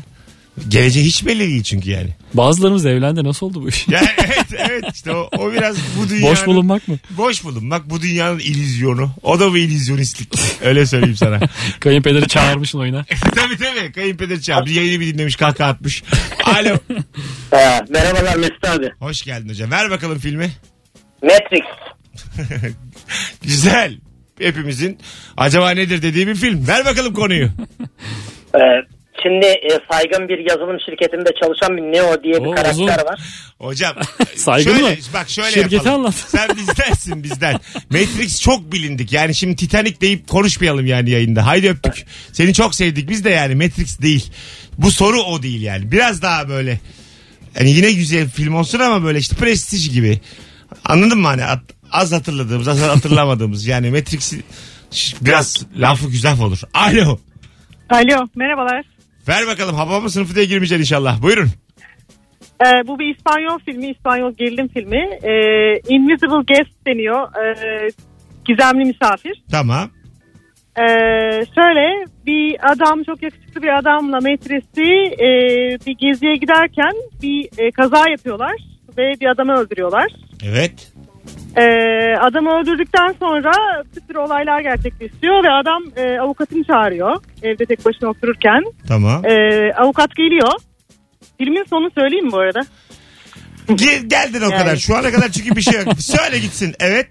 Speaker 2: Geleceği hiç belli değil çünkü yani.
Speaker 3: Bazılarımız evlendi nasıl oldu bu iş?
Speaker 2: yani evet, evet işte o, o biraz bu dünyanın...
Speaker 3: Boş bulunmak mı?
Speaker 2: Boş bulunmak bu dünyanın illüzyonu. O da bir illüzyonistlik. Öyle söyleyeyim sana.
Speaker 3: Kayınpederi çağırmışsın oyuna.
Speaker 2: tabii tabii. Kayınpeder çağırdı. Yayını bir dinlemiş kahkaha atmış. Alo.
Speaker 9: Ha, merhabalar Mesut abi.
Speaker 2: Hoş geldin hocam. Ver bakalım filmi.
Speaker 9: Matrix.
Speaker 2: Güzel. Hepimizin acaba nedir dediği bir film. Ver bakalım konuyu.
Speaker 9: Ee, şimdi e, saygın bir yazılım şirketinde çalışan bir Neo diye bir
Speaker 3: Oo,
Speaker 9: karakter
Speaker 3: uzun.
Speaker 9: var.
Speaker 2: Hocam.
Speaker 3: Saygın
Speaker 2: şöyle,
Speaker 3: mı?
Speaker 2: Bak şöyle
Speaker 3: Şirketi
Speaker 2: yapalım.
Speaker 3: anlat.
Speaker 2: Sen bizdensin bizden. Matrix çok bilindik. Yani şimdi Titanic deyip konuşmayalım yani yayında. Haydi öptük. Seni çok sevdik. Biz de yani Matrix değil. Bu soru o değil yani. Biraz daha böyle. Yani yine güzel film olsun ama böyle işte prestij gibi. Anladın mı hani At- az hatırladığımız az hatırlamadığımız yani Matrix'i ş- biraz lafı güzel olur. Alo.
Speaker 10: Alo merhabalar.
Speaker 2: Ver bakalım havamı sınıfı diye girmeyeceksin inşallah. Buyurun.
Speaker 10: Ee, bu bir İspanyol filmi, İspanyol gerilim filmi. Ee, Invisible Guest deniyor. Ee, gizemli misafir.
Speaker 2: Tamam.
Speaker 10: Ee, şöyle bir adam çok yakışıklı bir adamla metresi e, bir geziye giderken bir e, kaza yapıyorlar ve bir adamı öldürüyorlar.
Speaker 2: Evet.
Speaker 10: Ee, adamı öldürdükten sonra bir sürü olaylar gerçekleşiyor ve adam e, avukatını çağırıyor evde tek başına otururken.
Speaker 2: Tamam.
Speaker 10: Ee, avukat geliyor. Filmin sonu söyleyeyim mi bu arada?
Speaker 2: Ge- geldin o
Speaker 10: Yani.
Speaker 2: kadar. Şu ana kadar çünkü bir şey yok. Söyle gitsin. Evet.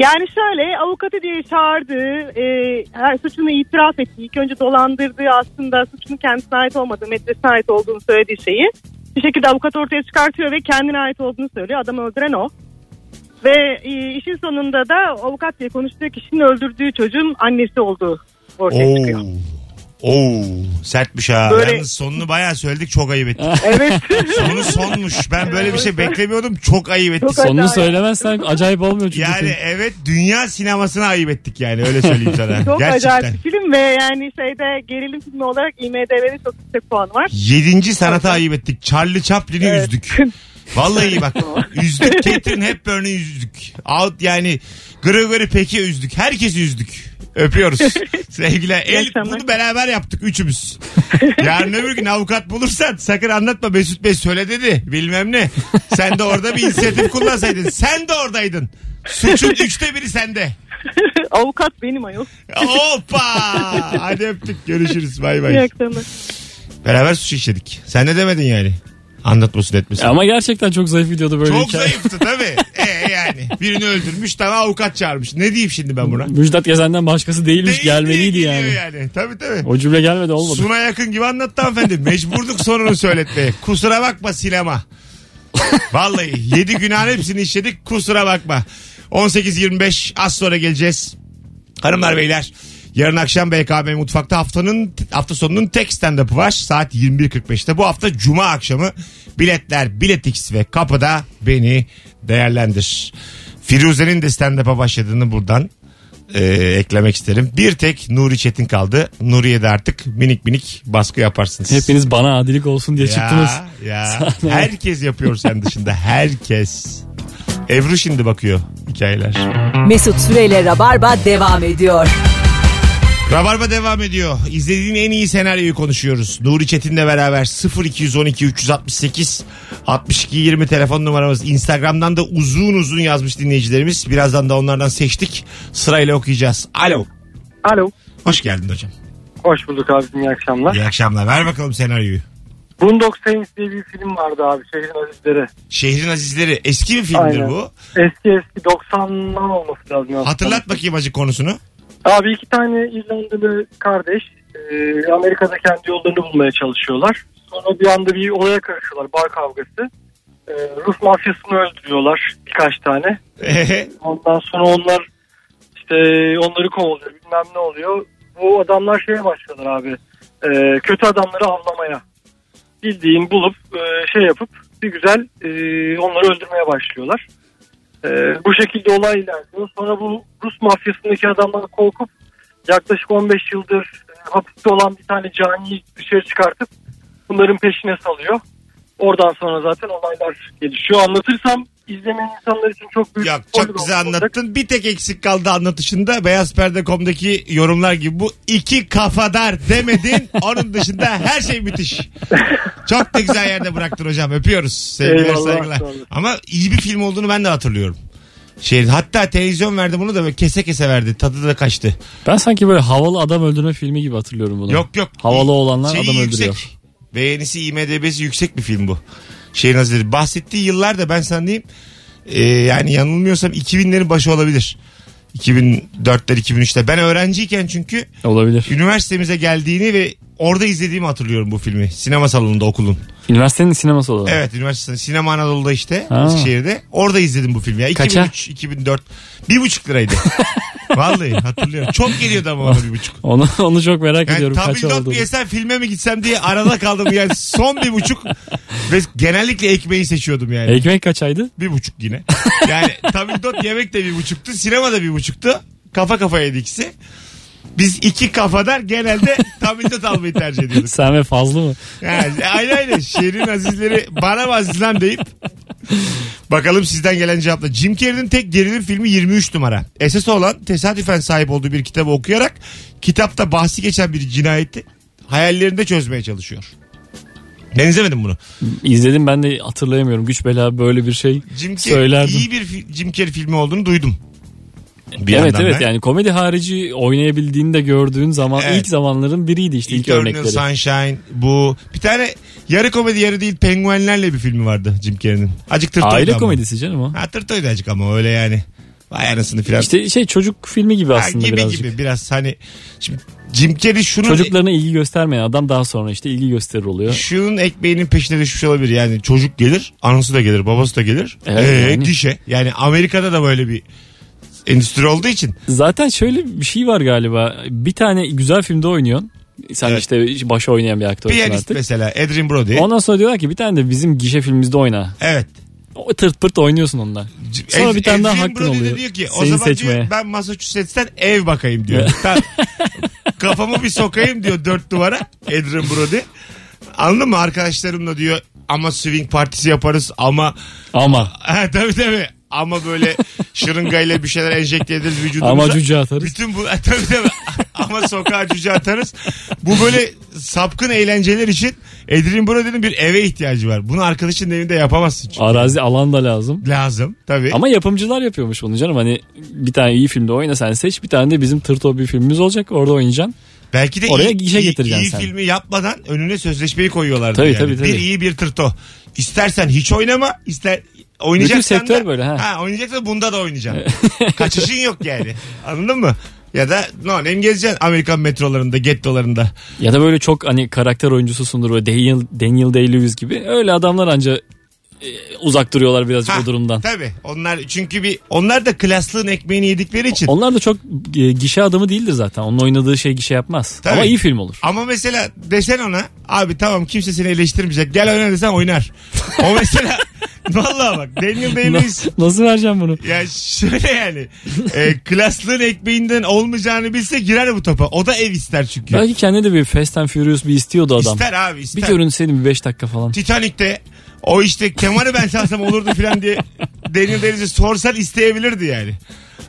Speaker 10: Yani şöyle avukatı diye çağırdığı, e, her suçunu itiraf ettiği, ilk önce dolandırdığı aslında suçunun kendisine ait olmadığı, metresine ait olduğunu söylediği şeyi bir şekilde avukat ortaya çıkartıyor ve kendine ait olduğunu söylüyor. Adamı öldüren o. Ve e, işin sonunda da avukat diye konuştuğu kişinin öldürdüğü çocuğun annesi olduğu ortaya
Speaker 2: Oo.
Speaker 10: çıkıyor.
Speaker 2: Oo. Sertmiş ha.
Speaker 10: Böyle-
Speaker 2: Yalnız sonunu bayağı söyledik. Çok ayıp ettik.
Speaker 10: Evet.
Speaker 2: Sonu sonmuş. Ben böyle bir şey beklemiyordum. Çok ayıp ettik.
Speaker 10: Çok
Speaker 3: Sonunu
Speaker 10: acayip.
Speaker 3: söylemezsen acayip olmuyor çünkü.
Speaker 2: Yani
Speaker 3: film.
Speaker 2: evet dünya sinemasına ayıp ettik yani öyle söyleyeyim sana.
Speaker 10: Çok
Speaker 2: Gerçekten.
Speaker 10: acayip bir film ve yani şeyde gerilim filmi olarak IMDB'de çok yüksek puan var.
Speaker 2: Yedinci sanata ayıp ettik. Charlie Chaplin'i üzdük. Vallahi bak üzdük. Catherine Hepburn'u üzdük. Out yani Gregory Peck'i üzdük. Herkesi üzdük. Öpüyoruz. Sevgiler. El, bunu beraber yaptık üçümüz. Yarın öbür gün avukat bulursan sakın anlatma Mesut Bey söyle dedi. Bilmem ne. Sen de orada bir inisiyatif kullansaydın. Sen de oradaydın. Suçun üçte biri sende.
Speaker 10: Avukat benim ayol.
Speaker 2: Hoppa. Hadi öptük. Görüşürüz. Bay
Speaker 10: İyi
Speaker 2: bay.
Speaker 10: akşamlar.
Speaker 2: Beraber suç işledik. Sen ne demedin yani? Anlatmasın etmesin.
Speaker 3: Ama gerçekten çok zayıf videoda böyle
Speaker 2: Çok
Speaker 3: hikaye.
Speaker 2: zayıftı tabii. Ee, yani birini öldürmüş tane avukat çağırmış. Ne diyeyim şimdi ben buna?
Speaker 3: Müjdat Gezen'den başkası değilmiş
Speaker 2: Değil,
Speaker 3: gelmeliydi
Speaker 2: değil,
Speaker 3: yani.
Speaker 2: geliyor yani. Tabii tabii.
Speaker 3: O cümle gelmedi olmadı.
Speaker 2: Suna yakın gibi anlattı hanımefendi. Mecburduk sonunu söyletmeye. Kusura bakma sinema. Vallahi 7 günahın hepsini işledik kusura bakma. 18.25 az sonra geleceğiz. Hanımlar beyler yarın akşam BKM Mutfak'ta haftanın hafta sonunun tek stand-up'ı var. Saat 21.45'te bu hafta Cuma akşamı biletler Biletix ve kapıda beni değerlendir. Firuze'nin de stand-up'a başladığını buradan e, eklemek isterim. Bir tek Nuri Çetin kaldı. Nuri'ye de artık minik minik baskı yaparsınız.
Speaker 3: Hepiniz bana adilik olsun diye çıktınız.
Speaker 2: Ya, herkes yapıyor sen dışında. Herkes. Ebru şimdi bakıyor hikayeler.
Speaker 1: Mesut Süreyle Rabarba devam ediyor.
Speaker 2: Rabarba devam ediyor. İzlediğin en iyi senaryoyu konuşuyoruz. Nuri Çetin'le beraber 0212 368 62 20 telefon numaramız. Instagram'dan da uzun uzun yazmış dinleyicilerimiz. Birazdan da onlardan seçtik. Sırayla okuyacağız. Alo.
Speaker 11: Alo.
Speaker 2: Hoş geldin hocam.
Speaker 11: Hoş bulduk abicim iyi akşamlar.
Speaker 2: İyi akşamlar. Ver bakalım senaryoyu.
Speaker 11: Boondock Saints diye bir film vardı abi şehrin azizleri.
Speaker 2: Şehrin Azizleri eski bir filmdir
Speaker 11: Aynen.
Speaker 2: bu.
Speaker 11: Eski eski 90'lar olması lazım. aslında.
Speaker 2: Hatırlat bakayım acı konusunu.
Speaker 11: Abi iki tane İrlandalı kardeş e, Amerika'da kendi yollarını bulmaya çalışıyorlar. Sonra bir anda bir olaya karışıyorlar bar kavgası. E, Rus mafyasını öldürüyorlar birkaç tane. Ondan sonra onlar işte onları kovalıyor bilmem ne oluyor. Bu adamlar şeye başlıyorlar abi. e, kötü adamları avlamaya. Bildiğin bulup e, şey yapıp bir güzel e, onları öldürmeye başlıyorlar. E, bu şekilde olay ilerliyor. Sonra bu Rus mafyasındaki adamlar korkup yaklaşık 15 yıldır e, hapiste olan bir tane cani dışarı çıkartıp bunların peşine salıyor. Oradan sonra zaten olaylar gelişiyor. Anlatırsam izlemeyen insanlar için çok büyük
Speaker 2: Yok çok güzel anlattın. Bir tek eksik kaldı anlatışında. Beyazperde.com'daki yorumlar gibi bu iki kafadar demedin. Onun dışında her şey müthiş. Çok da güzel yerde bıraktın hocam. Öpüyoruz. Sevgiler
Speaker 11: Eyvallah,
Speaker 2: saygılar.
Speaker 11: sağ olun.
Speaker 2: Ama iyi bir film olduğunu ben de hatırlıyorum. Şey, hatta televizyon verdi bunu da böyle kese kese verdi. Tadı da kaçtı.
Speaker 3: Ben sanki böyle havalı adam öldürme filmi gibi hatırlıyorum bunu.
Speaker 2: Yok yok.
Speaker 3: Havalı olanlar
Speaker 2: Şeyi
Speaker 3: adam öldürüyor.
Speaker 2: yüksek. Beğenisi IMDB'si yüksek bir film bu. Şeyin hazırı. Bahsettiği yıllarda ben sana diyeyim. e, yani yanılmıyorsam 2000'lerin başı olabilir. 2004'ler 2003'ler. Ben öğrenciyken çünkü
Speaker 3: Olabilir.
Speaker 2: üniversitemize geldiğini ve orada izlediğimi hatırlıyorum bu filmi. Sinema salonunda okulun.
Speaker 3: Üniversitenin sineması olarak.
Speaker 2: Evet üniversitede sinema Anadolu'da işte
Speaker 3: Ha.
Speaker 2: Eskişehir'de. Orada izledim bu filmi ya.
Speaker 3: Kaça?
Speaker 2: 2003, 2004. Bir buçuk liraydı. Vallahi hatırlıyorum. Çok geliyordu ama bana bir buçuk.
Speaker 3: Onu, onu çok merak
Speaker 2: Yani
Speaker 3: ediyorum kaç
Speaker 2: tabildot
Speaker 3: oldu.
Speaker 2: mu yesem filme mi gitsem diye arada kaldım yani son bir buçuk ve genellikle ekmeği seçiyordum yani.
Speaker 3: Ekmek kaçaydı?
Speaker 2: Bir buçuk yine. Yani tabildot yemek de bir buçuktu sinema da bir buçuktu kafa kafaya yedik ikisi. Biz iki kafadar genelde tabildot almayı tercih ediyorduk.
Speaker 3: Sen ve fazla mı?
Speaker 2: Yani aynı aynı şehrin azizleri bana mı aziz lan deyip Bakalım sizden gelen cevapla. Jim Carrey'nin tek gerilim filmi 23 numara. Esas olan tesadüfen sahip olduğu bir kitabı okuyarak kitapta bahsi geçen bir cinayeti hayallerinde çözmeye çalışıyor. Ben izlemedim bunu.
Speaker 3: İzledim ben de hatırlayamıyorum. Güç bela böyle bir şey
Speaker 2: Jim Carrey
Speaker 3: söylerdim.
Speaker 2: iyi bir fi- Jim Carrey filmi olduğunu duydum. Bir
Speaker 3: evet
Speaker 2: yandan
Speaker 3: evet
Speaker 2: ben.
Speaker 3: yani komedi harici oynayabildiğini de gördüğün zaman
Speaker 2: Evet.
Speaker 3: ilk zamanların biriydi işte ilk,
Speaker 2: Eternal
Speaker 3: örnekleri.
Speaker 2: Sunshine bu. Bir tane yarı komedi yarı değil penguenlerle bir filmi vardı Jim Carrey'nin. Acık tırtoydu
Speaker 3: Aile
Speaker 2: ama.
Speaker 3: komedisi canım o.
Speaker 2: Ha tırtoydu acık ama öyle yani. Vay anasını filan.
Speaker 3: İşte şey çocuk filmi gibi
Speaker 2: Ha,
Speaker 3: aslında
Speaker 2: gibi
Speaker 3: birazcık.
Speaker 2: gibi biraz hani şimdi Jim Carrey şunu
Speaker 3: Çocuklarına ilgi göstermeyen adam daha sonra işte ilgi gösterir oluyor.
Speaker 2: şunun ekmeğinin peşine düşmüş olabilir. Yani çocuk gelir, anası da gelir, babası da gelir.
Speaker 3: Evet,
Speaker 2: Ee,
Speaker 3: yani.
Speaker 2: Gişe. Yani Amerika'da da böyle bir endüstri olduğu için.
Speaker 3: Zaten şöyle bir şey var galiba. Bir tane güzel filmde oynuyorsun. Sen
Speaker 2: Evet.
Speaker 3: işte başa oynayan bir aktörsün
Speaker 2: Piyanist
Speaker 3: artık.
Speaker 2: mesela Adrian Brody.
Speaker 3: Ondan sonra diyorlar ki bir tane de bizim gişe filmimizde oyna.
Speaker 2: Evet.
Speaker 3: O tırt pırt oynuyorsun ondan. Sonra
Speaker 2: Ad-
Speaker 3: bir tane daha
Speaker 2: Adrian
Speaker 3: hakkın
Speaker 2: Brody de
Speaker 3: oluyor.
Speaker 2: diyor ki o
Speaker 3: Seni
Speaker 2: zaman diyor,
Speaker 3: seçmeye.
Speaker 2: ben Massachusetts'ten ev bakayım diyor. Tam- kafamı bir sokayım diyor dört duvara Adrian Brody. Anladın mı arkadaşlarımla diyor ama swing partisi yaparız ama
Speaker 3: Ama
Speaker 2: Ha, tabii tabii. ama böyle şırıngayla bir şeyler enjekte ederiz vücudumuza.
Speaker 3: Ama cüce atarız.
Speaker 2: Bütün bu tabii tabii. ama sokağa cüce atarız. Bu böyle sapkın eğlenceler için Edinburgh'ın bir eve ihtiyacı var. Bunu arkadaşın evinde yapamazsın çünkü.
Speaker 3: Arazi alan da lazım.
Speaker 2: Lazım tabii.
Speaker 3: Ama yapımcılar yapıyormuş onu canım. Hani bir tane iyi filmde oyna sen seç. Bir tane de bizim tırto bir filmimiz olacak. Orada oynayacaksın.
Speaker 2: Belki de
Speaker 3: Oraya
Speaker 2: iyi,
Speaker 3: işe
Speaker 2: iyi-
Speaker 3: getireceksin
Speaker 2: iyi
Speaker 3: sen.
Speaker 2: filmi yapmadan önüne sözleşmeyi koyuyorlardı.
Speaker 3: Tabii,
Speaker 2: yani.
Speaker 3: tabii, tabii.
Speaker 2: Bir iyi bir tırto. İstersen hiç oynama, ister oynayacaksan
Speaker 3: sektör
Speaker 2: da,
Speaker 3: böyle, ha.
Speaker 2: oynayacaksan bunda da oynayacaksın. Kaçışın yok yani. Anladın mı? Ya da no name gezeceksin Amerikan metrolarında, gettolarında.
Speaker 3: Ya da böyle çok hani karakter oyuncususundur. Böyle Daniel, Daniel Day-Lewis gibi. Öyle adamlar anca e, uzak duruyorlar birazcık
Speaker 2: Ha,
Speaker 3: o durumdan.
Speaker 2: Tabii. Onlar çünkü bir onlar da klaslığın ekmeğini yedikleri için.
Speaker 3: Onlar da çok e, gişe adamı değildir zaten. Onun oynadığı şey gişe yapmaz.
Speaker 2: Tabii.
Speaker 3: Ama iyi film olur.
Speaker 2: Ama mesela desen ona abi tamam kimse seni eleştirmeyecek. Gel oyna desen oynar. O mesela vallahi bak Daniel Day-Lewis
Speaker 3: Nasıl vereceğim bunu?
Speaker 2: Ya şöyle yani. e, klaslığın ekmeğinden olmayacağını bilse girer bu topa. O da ev ister çünkü.
Speaker 3: Belki kendi de bir Fast and Furious bir istiyordu adam.
Speaker 2: İster abi ister.
Speaker 3: Bir görünseydim bir 5 dakika falan.
Speaker 2: Titanic'te o işte kemanı ben çalsam olurdu falan diye Daniel Deniz'i sorsan isteyebilirdi yani.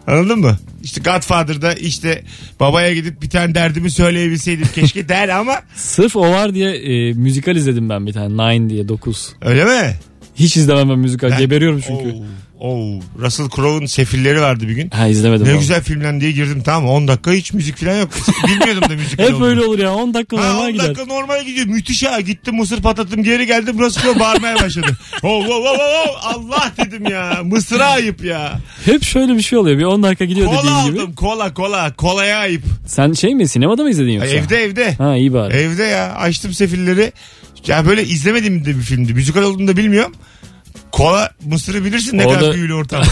Speaker 2: Anladın mı? İşte Godfather'da işte babaya gidip bir tane derdimi söyleyebilseydim keşke der ama
Speaker 3: Sırf o var diye e, müzikal izledim ben bir tane. Nine diye 9.
Speaker 2: öyle mi?
Speaker 3: Hiç izlemem ben müzikal.
Speaker 2: Ben-
Speaker 3: Geberiyorum çünkü.
Speaker 2: Oo, oo. Russell Crowe'un sefilleri vardı bir gün.
Speaker 3: Ha izlemedim.
Speaker 2: Ne
Speaker 3: abi.
Speaker 2: güzel filmden diye girdim tamam mı? 10 dakika hiç müzik falan yok. Bilmiyordum da müzik
Speaker 3: Hep
Speaker 2: olduğunu.
Speaker 3: böyle olur ya. 10 dakika
Speaker 2: şey Ha,
Speaker 3: normal
Speaker 2: 10
Speaker 3: gider.
Speaker 2: dakika normal gidiyor. Müthiş ha. Gittim mısır patlattım geri geldim. Burası böyle bağırmaya başladı. Oh, oh, oh, oh, oh. Allah dedim ya. Mısıra ayıp ya.
Speaker 3: Hep şöyle bir şey oluyor. Bir 10 dakika gidiyor
Speaker 2: Kola
Speaker 3: dediğin
Speaker 2: aldım.
Speaker 3: gibi.
Speaker 2: Kola kola. Kolaya ayıp.
Speaker 3: Sen şey mi sinemada mı izledin yoksa?
Speaker 2: Ay, evde evde.
Speaker 3: Ha iyi bari.
Speaker 2: Evde ya. Açtım sefilleri. Ya böyle izlemediğim de bir filmdi. Müzikal olduğunu da bilmiyorum. Kola mısırı bilirsin ne kadar
Speaker 3: Orada-
Speaker 2: büyülü ortam.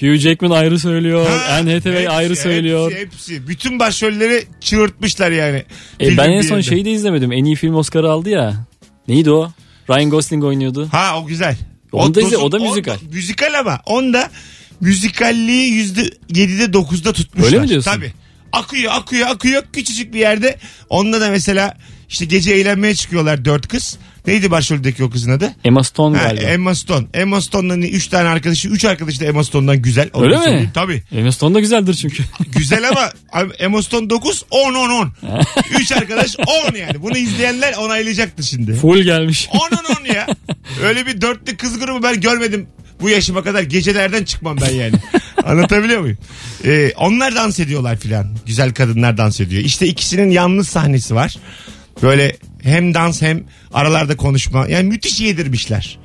Speaker 3: Hugh Jackman ayrı söylüyor.
Speaker 2: Ha,
Speaker 3: Anne Hathaway
Speaker 2: hepsi,
Speaker 3: ayrı söylüyor.
Speaker 2: Hepsi, hepsi. Bütün başrolleri çığırtmışlar yani.
Speaker 3: E, ben
Speaker 2: Filmin
Speaker 3: en
Speaker 2: bir
Speaker 3: son
Speaker 2: yerinde.
Speaker 3: şeyi de izlemedim. En iyi film Oscar'ı aldı ya. Neydi o? Ryan Gosling oynuyordu.
Speaker 2: Ha o güzel.
Speaker 3: Onu da izle,
Speaker 2: tosun-
Speaker 3: o da müzikal.
Speaker 2: müzikal ama onda müzikalliği yüzde yedide dokuzda tutmuşlar.
Speaker 3: Öyle mi diyorsun?
Speaker 2: Tabii. Akıyor akıyor akıyor küçücük bir yerde. Onda da mesela işte gece eğlenmeye çıkıyorlar dört kız. Neydi başroldeki o kızın adı?
Speaker 3: Emma Stone
Speaker 2: Ha,
Speaker 3: galiba.
Speaker 2: Emma Stone. Emma Stone'dan üç tane arkadaşı. Üç arkadaşı da Emma Stone'dan güzel. Onu
Speaker 3: Öyle
Speaker 2: da
Speaker 3: mi?
Speaker 2: söyleyeyim. Tabii.
Speaker 3: Emma Stone da güzeldir çünkü.
Speaker 2: Güzel ama Emma Stone 9, 10, 10, 10. Üç arkadaş 10 yani. Bunu izleyenler onaylayacaktı şimdi.
Speaker 3: Full gelmiş.
Speaker 2: Onun on ya. Öyle bir dörtlü kız grubu ben görmedim. Bu yaşıma kadar gecelerden çıkmam ben yani. Anlatabiliyor muyum? Ee, onlar dans ediyorlar filan. Güzel kadınlar dans ediyor. İşte ikisinin yalnız sahnesi var. Böyle hem dans hem aralarda konuşma. Yani müthiş yedirmişler.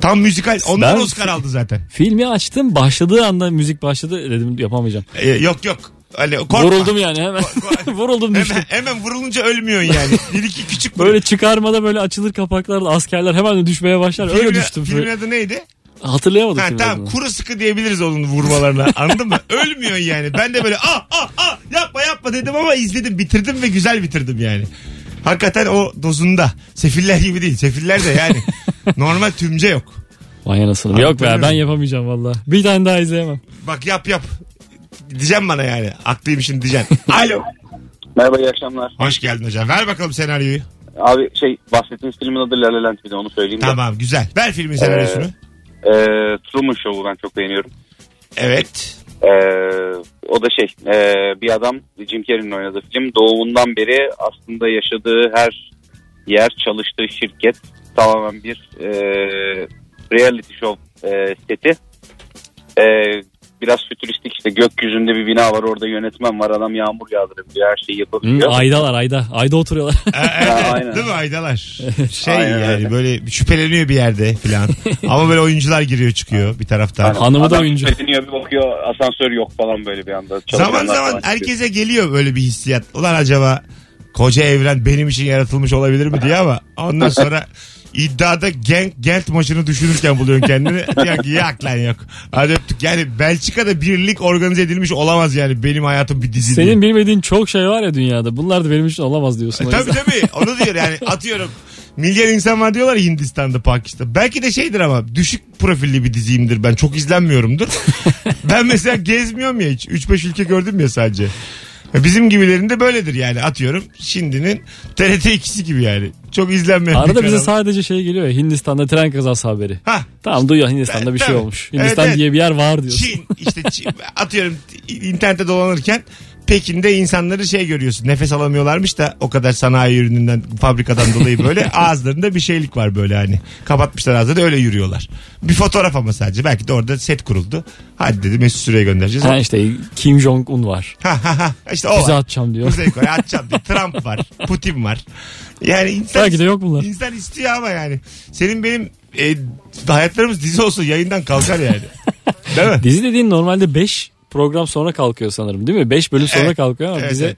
Speaker 2: Tam müzikal. Ondan
Speaker 3: Ben-
Speaker 2: Oscar aldı zaten.
Speaker 3: Filmi açtım başladığı anda müzik başladı dedim yapamayacağım.
Speaker 2: Ee, yok yok. Öyle korkma.
Speaker 3: Vuruldum yani hemen. Vuruldum düştüm.
Speaker 2: Hemen, hemen vurulunca ölmüyorsun yani. Bir iki küçük
Speaker 3: Böyle çıkarmada böyle açılır kapaklarla askerler hemen de düşmeye başlar. Öyle
Speaker 2: Filmin-
Speaker 3: düştüm.
Speaker 2: Filmin adı neydi?
Speaker 3: Hatırlayamadım
Speaker 2: Ha,
Speaker 3: filmin
Speaker 2: tamam
Speaker 3: adını.
Speaker 2: kuru sıkı diyebiliriz onun vurmalarına anladın mı? Ölmüyorsun yani. Ben de böyle ah ah ah yapma yapma dedim ama izledim bitirdim ve güzel bitirdim yani. Hakikaten o dozunda. Sefiller gibi değil. Sefiller de yani. Normal tümce yok.
Speaker 3: Vay anasını. Yok be
Speaker 2: Hatırlıyorum.
Speaker 3: ben yapamayacağım valla. Bir tane daha izleyemem.
Speaker 2: Bak yap yap. Diyeceğim bana yani. Aklıymışım diyeceksin. Alo.
Speaker 12: Merhaba iyi akşamlar.
Speaker 2: Hoş geldin hocam. Ver bakalım senaryoyu.
Speaker 12: Abi şey bahsettiğiniz filmin adı La La Land bir de onu söyleyeyim de.
Speaker 2: Tamam güzel. Ver filmin senaryosunu.
Speaker 12: Ee, Truman Show'u ben çok beğeniyorum.
Speaker 2: Evet.
Speaker 12: Ee, o da şey ee, bir adam Jim Carrey'nin oynadığı film doğumundan beri aslında yaşadığı her yer çalıştığı şirket tamamen bir ee, reality show ee, seti. Ee, biraz fütüristik işte gökyüzünde bir bina var orada yönetmen var adam yağmur yağdırabiliyor her şeyi
Speaker 3: Hı,
Speaker 12: yapabiliyor.
Speaker 3: aydalar ayda. Ayda oturuyorlar.
Speaker 12: Ha, aynen.
Speaker 2: Ee, Değil mi Aydalar? Şey
Speaker 12: Aynen
Speaker 2: yani
Speaker 12: öyle.
Speaker 2: böyle şüpheleniyor bir yerde filan. Ama böyle oyuncular giriyor çıkıyor bir taraftan.
Speaker 12: Aynen.
Speaker 3: Hanımı da
Speaker 12: Adam
Speaker 3: oyuncu.
Speaker 12: şüpheleniyor, bir bakıyor asansör yok falan böyle bir anda. Çalışanlar
Speaker 2: Zaman zaman
Speaker 12: falan çıkıyor.
Speaker 2: herkese geliyor böyle bir hissiyat. Ulan acaba koca evren benim için yaratılmış olabilir mi diye ama ondan sonra iddiada Genk Gent maçını düşünürken buluyorsun kendini. Diyor ki yak lan yok. Hadi öptük. Yani Belçika'da birlik organize edilmiş olamaz yani benim hayatım bir dizi. diye.
Speaker 3: Senin bilmediğin çok şey var ya dünyada. Bunlar da benim için olamaz diyorsun.
Speaker 2: E,
Speaker 3: o
Speaker 2: tabii
Speaker 3: yüzden.
Speaker 2: tabii onu diyor yani atıyorum. Milyar insan var diyorlar ya Hindistan'da, Pakistan'da. Belki de şeydir ama düşük profilli bir diziyimdir ben. Çok izlenmiyorumdur. ben mesela gezmiyorum ya hiç. 3-5 ülke gördüm ya sadece. Bizim gibilerinde böyledir yani atıyorum. Şimdinin TRT ikisi gibi yani. Çok izlenmeyen bir
Speaker 3: Arada bize
Speaker 2: kanal.
Speaker 3: sadece şey geliyor ya Hindistan'da tren kazası haberi. Tamam duyuyor Hindistan'da bir şey
Speaker 2: E, Tabii.
Speaker 3: olmuş.
Speaker 2: Evet,
Speaker 3: Hindistan
Speaker 2: evet.
Speaker 3: diye bir yer var diyorsun.
Speaker 2: Çin işte Çin, atıyorum internette dolanırken Pekin'de insanları şey görüyorsun nefes alamıyorlarmış da o kadar sanayi ürününden fabrikadan dolayı böyle ağızlarında bir şeylik var böyle hani kapatmışlar ağzını öyle yürüyorlar. Bir fotoğraf ama sadece belki de orada set kuruldu. Hadi dedi Mesut Süre'ye göndereceğiz.
Speaker 3: Ha işte Kim Jong-un var.
Speaker 2: Ha ha ha. İşte o
Speaker 3: Füze
Speaker 2: var.
Speaker 3: atacağım diyor.
Speaker 2: Füzeyi koy atacağım diyor. Trump var. Putin var. Yani insan,
Speaker 3: Belki de yok bunlar.
Speaker 2: İnsan istiyor ama yani. Senin benim e, hayatlarımız dizi olsun yayından kalkar yani. Değil mi?
Speaker 3: Dizi dediğin normalde 5 program sonra kalkıyor sanırım değil mi? 5 bölüm sonra
Speaker 2: Evet.
Speaker 3: kalkıyor ama
Speaker 2: Evet,
Speaker 3: bize
Speaker 2: evet.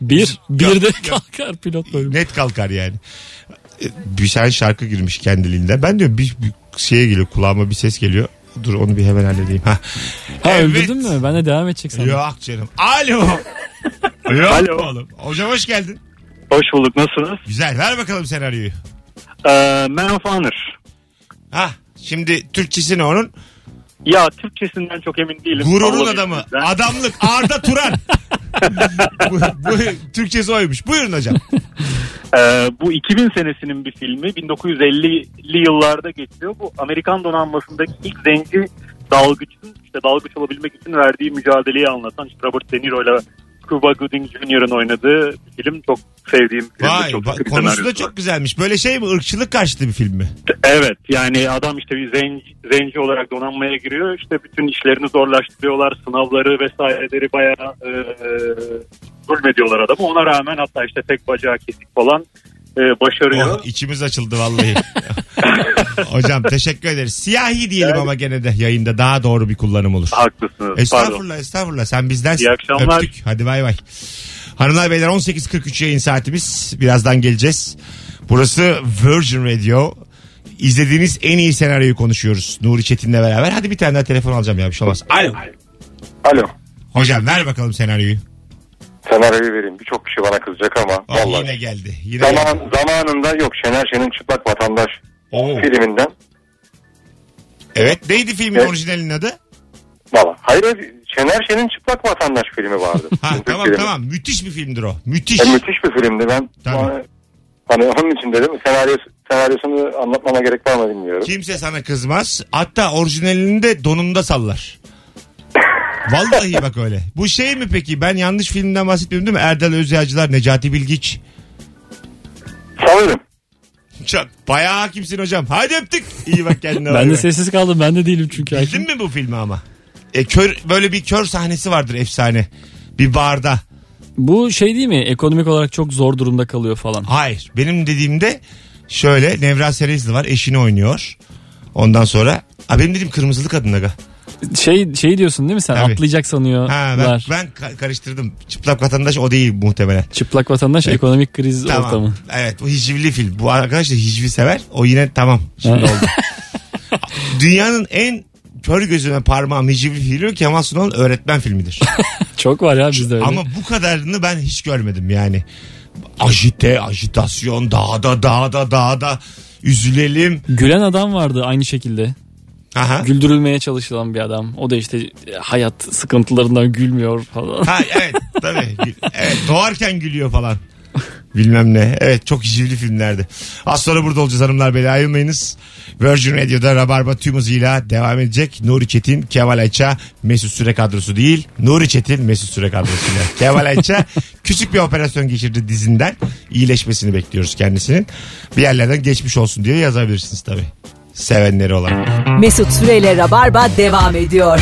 Speaker 3: bir bir de
Speaker 2: Yok, yok.
Speaker 3: kalkar pilot bölüm.
Speaker 2: Net kalkar yani. E, Bir tane şarkı girmiş kendiliğinden. Ben diyorum bir, bir şeye geliyor kulağıma bir ses geliyor. Dur onu bir hemen halledeyim. Ha.
Speaker 3: Ha
Speaker 2: Evet.
Speaker 3: öldürdün mü? Ben de devam edecek sandım.
Speaker 2: Yok canım. Alo. Yok
Speaker 3: Alo.
Speaker 2: oğlum. Hocam hoş geldin.
Speaker 13: Hoş bulduk. Nasılsınız?
Speaker 2: Güzel. Ver bakalım senaryoyu.
Speaker 13: Ee, Man of Honor.
Speaker 2: Ha şimdi Türkçesi ne onun?
Speaker 13: Ya Türkçesinden çok emin değilim.
Speaker 2: Gururun
Speaker 13: Sallayayım
Speaker 2: adamı.
Speaker 13: sizden.
Speaker 2: Adamlık. Arda Turan. bu, bu, Türkçesi oymuş. Buyurun hocam.
Speaker 13: Ee, bu 2000 senesinin bir filmi. 1950'li yıllarda geçiyor. Bu Amerikan donanmasındaki ilk zenci dalgıçın işte dalgıç olabilmek için verdiği mücadeleyi anlatan işte Robert De Niro ile Cuba Gooding Jr.'ın oynadığı bir film. Çok sevdiğim bir film.
Speaker 2: Vay.
Speaker 13: çok
Speaker 2: ba-
Speaker 13: sıkı bir
Speaker 2: konusu da
Speaker 13: senaryosu var.
Speaker 2: çok güzelmiş. Böyle şey mi? ırkçılık karşıtı bir film mi?
Speaker 13: Evet yani adam işte bir zenci, zenci olarak donanmaya giriyor. İşte bütün işlerini zorlaştırıyorlar. Sınavları vesaireleri bayağı e, zulmediyorlar adamı. Ona rağmen hatta işte tek bacağı kesik falan e, başarıyor.
Speaker 2: Oh, içimiz açıldı vallahi. Hocam teşekkür ederiz. Siyahi diyelim ama gene de yayında daha doğru bir kullanım olur.
Speaker 13: Haklısınız.
Speaker 2: Estağfurullah
Speaker 13: Pardon.
Speaker 2: estağfurullah. Sen bizden
Speaker 13: İyi akşamlar.
Speaker 2: öptük. Hadi bay bay. Hanımlar beyler 18.43 yayın saatimiz. Birazdan geleceğiz. Burası Virgin Radio. İzlediğiniz en iyi senaryoyu konuşuyoruz. Nuri Çetin'le beraber. Hadi bir tane daha telefon alacağım ya bir şey olmaz. Alo.
Speaker 14: Alo.
Speaker 2: Hocam ver bakalım senaryoyu.
Speaker 14: Senaryoyu vereyim. Birçok kişi bana kızacak ama.
Speaker 2: Bak
Speaker 14: vallahi.
Speaker 2: yine geldi. Yine
Speaker 14: Zaman, zamanında yok Şener Şen'in Çıplak Vatandaş filminden.
Speaker 2: Evet neydi filmin orijinalinin adı?
Speaker 14: Valla. Hayır Şener Şen'in Çıplak Vatandaş filmi vardı.
Speaker 2: Ha,
Speaker 14: Türk
Speaker 2: tamam
Speaker 14: filmi.
Speaker 2: tamam müthiş bir filmdir o. Müthiş.
Speaker 14: E, müthiş bir filmdi ben.
Speaker 2: Tabii.
Speaker 14: Hani onun için dedim senaryo, senaryosunu anlatmama gerek var mı bilmiyorum.
Speaker 2: Kimse sana kızmaz. Hatta orijinalini de donunda sallar. Vallahi bak öyle. Bu şey mi peki? Ben yanlış filmden bahsetmiyorum değil mi? Erdal Özyağcılar, Necati Bilgiç.
Speaker 14: Sanırım.
Speaker 2: Çok bayağı hakimsin hocam. Hadi öptük. İyi bak kendine.
Speaker 3: Ben de sessiz kaldım. Ben de değilim çünkü.
Speaker 2: Bildin mi bu filmi ama? E, kör, böyle bir kör sahnesi vardır efsane. Bir barda.
Speaker 3: Bu şey değil mi? Ekonomik olarak çok zor durumda kalıyor falan.
Speaker 2: Hayır. Benim dediğimde şöyle Nevra Serezli var. Eşini oynuyor. Ondan sonra. Ha, benim dediğim kırmızılı kadın aga.
Speaker 3: Şey şey diyorsun değil mi sen?
Speaker 2: Tabii.
Speaker 3: Atlayacak sanıyorlar.
Speaker 2: Ha, ben, ben ka- karıştırdım. Çıplak vatandaş o değil muhtemelen.
Speaker 3: Çıplak vatandaş ekonomik kriz
Speaker 2: Tamam.
Speaker 3: ortamı.
Speaker 2: Evet bu hicivli film. Bu arkadaş da hicvi sever. O yine tamam. Şimdi
Speaker 3: Ha.
Speaker 2: oldu. Dünyanın en kör gözüne parmağım hicivli filmi Kemal Sunal'ın öğretmen filmidir.
Speaker 3: Çok var ya bizde öyle.
Speaker 2: Ama bu kadarını ben hiç görmedim yani. Ajite, ajitasyon, dağda, dağda, dağda. Üzülelim.
Speaker 3: Gülen adam vardı aynı şekilde.
Speaker 2: Aha.
Speaker 3: Güldürülmeye çalışılan bir adam. O da işte e, hayat sıkıntılarından gülmüyor falan.
Speaker 2: Ha evet tabii. Evet, doğarken gülüyor falan. Bilmem ne. Evet çok hicivli filmlerdi. Az sonra burada olacağız hanımlar beyler ayrılmayınız. Virgin Radio'da Rabarba tüm hızıyla devam edecek. Nuri Çetin, Kemal Ayça, Mesut Süre kadrosu değil. Nuri Çetin, Mesut Süre kadrosuyla. Kemal Ayça küçük bir operasyon geçirdi dizinden. İyileşmesini bekliyoruz kendisinin. Bir yerlerden geçmiş olsun diye yazabilirsiniz tabii. Sevenleri olan.
Speaker 1: Mesut Süreyle Rabarba devam ediyor.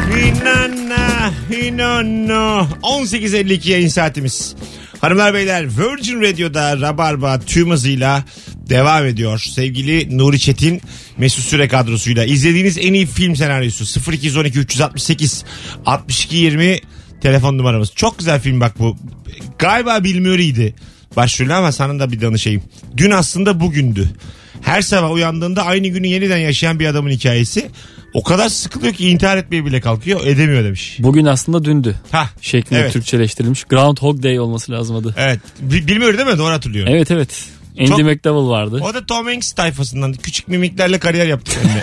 Speaker 2: İnanna, inanna. 18.52 yayın saatimiz. Hanımlar beyler Virgin Radio'da Rabarba tüm hızıyla devam ediyor. Sevgili Nuri Çetin Mesut Süre kadrosuyla izlediğiniz en iyi film senaryosu 0212 368 62 20 telefon numaramız. Çok güzel film bak bu. Galiba Bill Murray'di başrolü ama sana da bir danışayım. Dün aslında bugündü. Her sabah uyandığında aynı günü yeniden yaşayan bir adamın hikayesi. O kadar sıkılıyor ki intihar etmeye bile kalkıyor. Edemiyor demiş.
Speaker 3: Bugün aslında dündü.
Speaker 2: Ha.
Speaker 3: Şeklinde
Speaker 2: Evet.
Speaker 3: Türkçeleştirilmiş. Groundhog Day olması lazım adı.
Speaker 2: Evet. Bi- Bill Murray değil mi? Doğru hatırlıyorum.
Speaker 3: Evet evet. Andy McDowell vardı.
Speaker 2: O da Tom Hanks tayfasından. Küçük mimiklerle kariyer yaptı. Yani.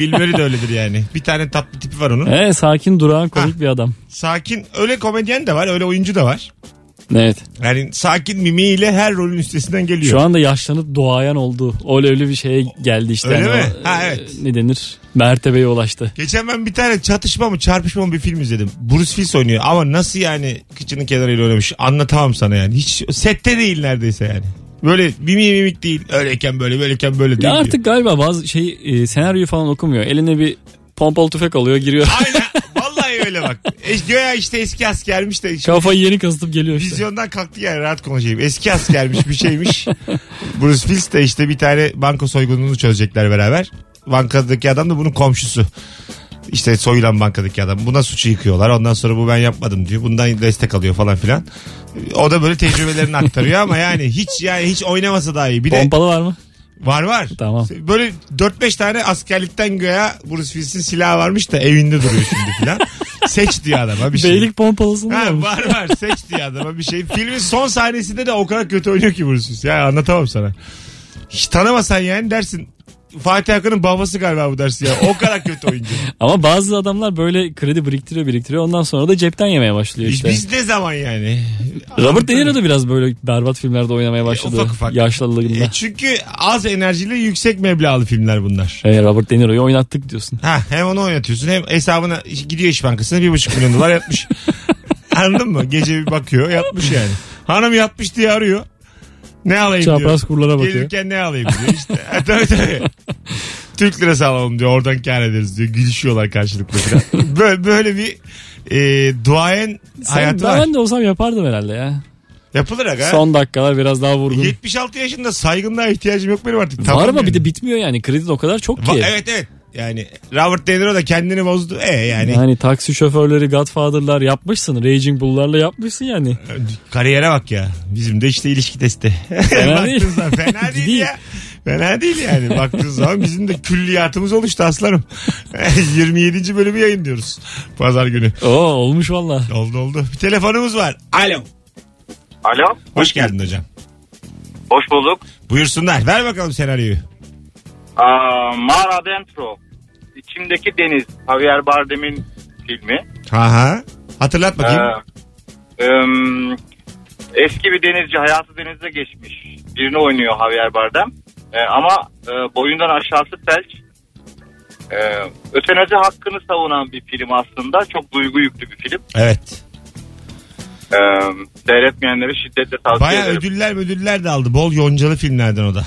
Speaker 2: Bilmeri de öyledir yani. Bir tane tatlı tipi var onun.
Speaker 3: Ee, sakin durağan komik bir adam.
Speaker 2: Sakin öyle komedyen de var öyle oyuncu da var.
Speaker 3: Evet.
Speaker 2: Yani sakin mimiğiyle her rolün üstesinden geliyor.
Speaker 3: Şu anda yaşlanıp doğayan oldu. Öyle öyle bir şeye geldi işte.
Speaker 2: Öyle
Speaker 3: Yani
Speaker 2: mi?
Speaker 3: o,
Speaker 2: Ha,
Speaker 3: e,
Speaker 2: evet.
Speaker 3: Ne denir? Mertebeye ulaştı.
Speaker 2: Geçen ben bir tane çatışma mı çarpışma mı bir film izledim. Bruce Willis oynuyor ama nasıl yani kıçının kenarıyla oynamış anlatamam sana yani. Hiç sette değil neredeyse yani. Böyle mimik mimik değil. Öyleyken böyle böyleyken böyle değil.
Speaker 3: Ya
Speaker 2: diyor.
Speaker 3: artık galiba bazı şey e, senaryoyu falan okumuyor. Eline bir pompalı tüfek alıyor giriyor.
Speaker 2: Vallahi öyle bak. E, Göya işte eski askermiş de. şimdi
Speaker 3: Kafayı yeni kazıtıp geliyor işte.
Speaker 2: Vizyondan kalktı yani rahat konuşayım. Eski askermiş bir şeymiş. Bruce Willis de işte bir tane banka soygununu çözecekler beraber. Bankadaki adam da bunun komşusu. İşte soyulan bankadaki adam. Buna suçu yıkıyorlar. Ondan sonra bu ben yapmadım diyor. Bundan destek alıyor falan filan. O da böyle tecrübelerini aktarıyor ama yani hiç yani hiç oynamasa daha iyi. Bir de
Speaker 3: Pompalı var mı?
Speaker 2: var var.
Speaker 3: Tamam.
Speaker 2: Böyle 4-5 tane askerlikten göğe Bruce Willis'in silahı varmış da evinde duruyor şimdi filan. Seç diyor adama bir şey.
Speaker 3: Beylik pompalısını
Speaker 2: Ha,
Speaker 3: almış.
Speaker 2: var var seç diye adama bir şey. Filmin son sahnesinde de o kadar kötü oynuyor ki Bruce Willis. Ya anlatamam sana. Hiç tanımasan yani dersin. Fatih Akın'ın babası galiba bu dersi ya. O kadar kötü oyuncu.
Speaker 3: Ama bazı adamlar böyle kredi biriktiriyor biriktiriyor. Ondan sonra da cepten yemeye başlıyor
Speaker 2: Biz,
Speaker 3: işte.
Speaker 2: biz ne zaman yani?
Speaker 3: Robert De Niro da biraz böyle berbat filmlerde oynamaya başladı.
Speaker 2: E, ufak ufak.
Speaker 3: Yaşlılığında.
Speaker 2: E çünkü az enerjili yüksek meblağlı filmler bunlar.
Speaker 3: E, Robert De Niro'yu oynattık diyorsun.
Speaker 2: Ha, hem onu oynatıyorsun hem hesabına gidiyor iş bankasına bir buçuk milyon dolar yatmış. Anladın mı? Gece bir bakıyor yatmış yani. Hanım yatmış diye arıyor. Ne alayım diyor.
Speaker 3: Çapraz kurlara bakıyor.
Speaker 2: Gelirken ne alayım diyor işte. Ha, tabii tabii. Türk lirası alalım diyor oradan kar ederiz diyor. Gülüşüyorlar karşılıklı falan. Böyle, böyle bir e, duayen
Speaker 3: Sen,
Speaker 2: hayatı
Speaker 3: ben,
Speaker 2: var.
Speaker 3: ben de olsam yapardım herhalde ya.
Speaker 2: Yapılır aga.
Speaker 3: Son dakikalar biraz daha vurgun.
Speaker 2: 76 yaşında saygınlığa ihtiyacım yok benim artık. Tamam
Speaker 3: var ama
Speaker 2: yani.
Speaker 3: bir de bitmiyor yani. Kredi de o kadar çok ki.
Speaker 2: Va- Evet evet. Yani Robert De Niro da kendini bozdu. E yani.
Speaker 3: Yani. taksi şoförleri, Godfather'lar yapmışsın. Raging Bull'larla yapmışsın yani.
Speaker 2: Kariyere bak ya. Bizim de işte ilişki testi.
Speaker 3: Fena değil.
Speaker 2: Baktığın zaman fena değil
Speaker 3: Değil.
Speaker 2: ya. Fena değil yani. Baktığın zaman bizim de külliyatımız oluştu aslanım. 27. bölümü yayınlıyoruz. Pazar günü.
Speaker 3: Oo olmuş valla.
Speaker 2: Oldu oldu. Bir telefonumuz var. Alo.
Speaker 15: Alo.
Speaker 2: Hoş geldin hocam.
Speaker 15: Hoş bulduk.
Speaker 2: Buyursunlar. Ver bakalım senaryoyu.
Speaker 15: Aa, Mar Adentro. İçimdeki Deniz. Javier Bardem'in filmi.
Speaker 2: Ha ha. Hatırlat bakayım.
Speaker 15: Ee, ım, eski bir denizci hayatı denizde geçmiş. Birini oynuyor Javier Bardem. Ee, ama e, boyundan aşağısı felç. Ee, ötenazi hakkını savunan bir film aslında. Çok duygu yüklü bir film.
Speaker 2: Evet.
Speaker 15: Ee, seyretmeyenlere şiddetle tavsiye
Speaker 2: Baya
Speaker 15: ederim.
Speaker 2: ödüller ödüller de aldı. Bol yoncalı filmlerden o da.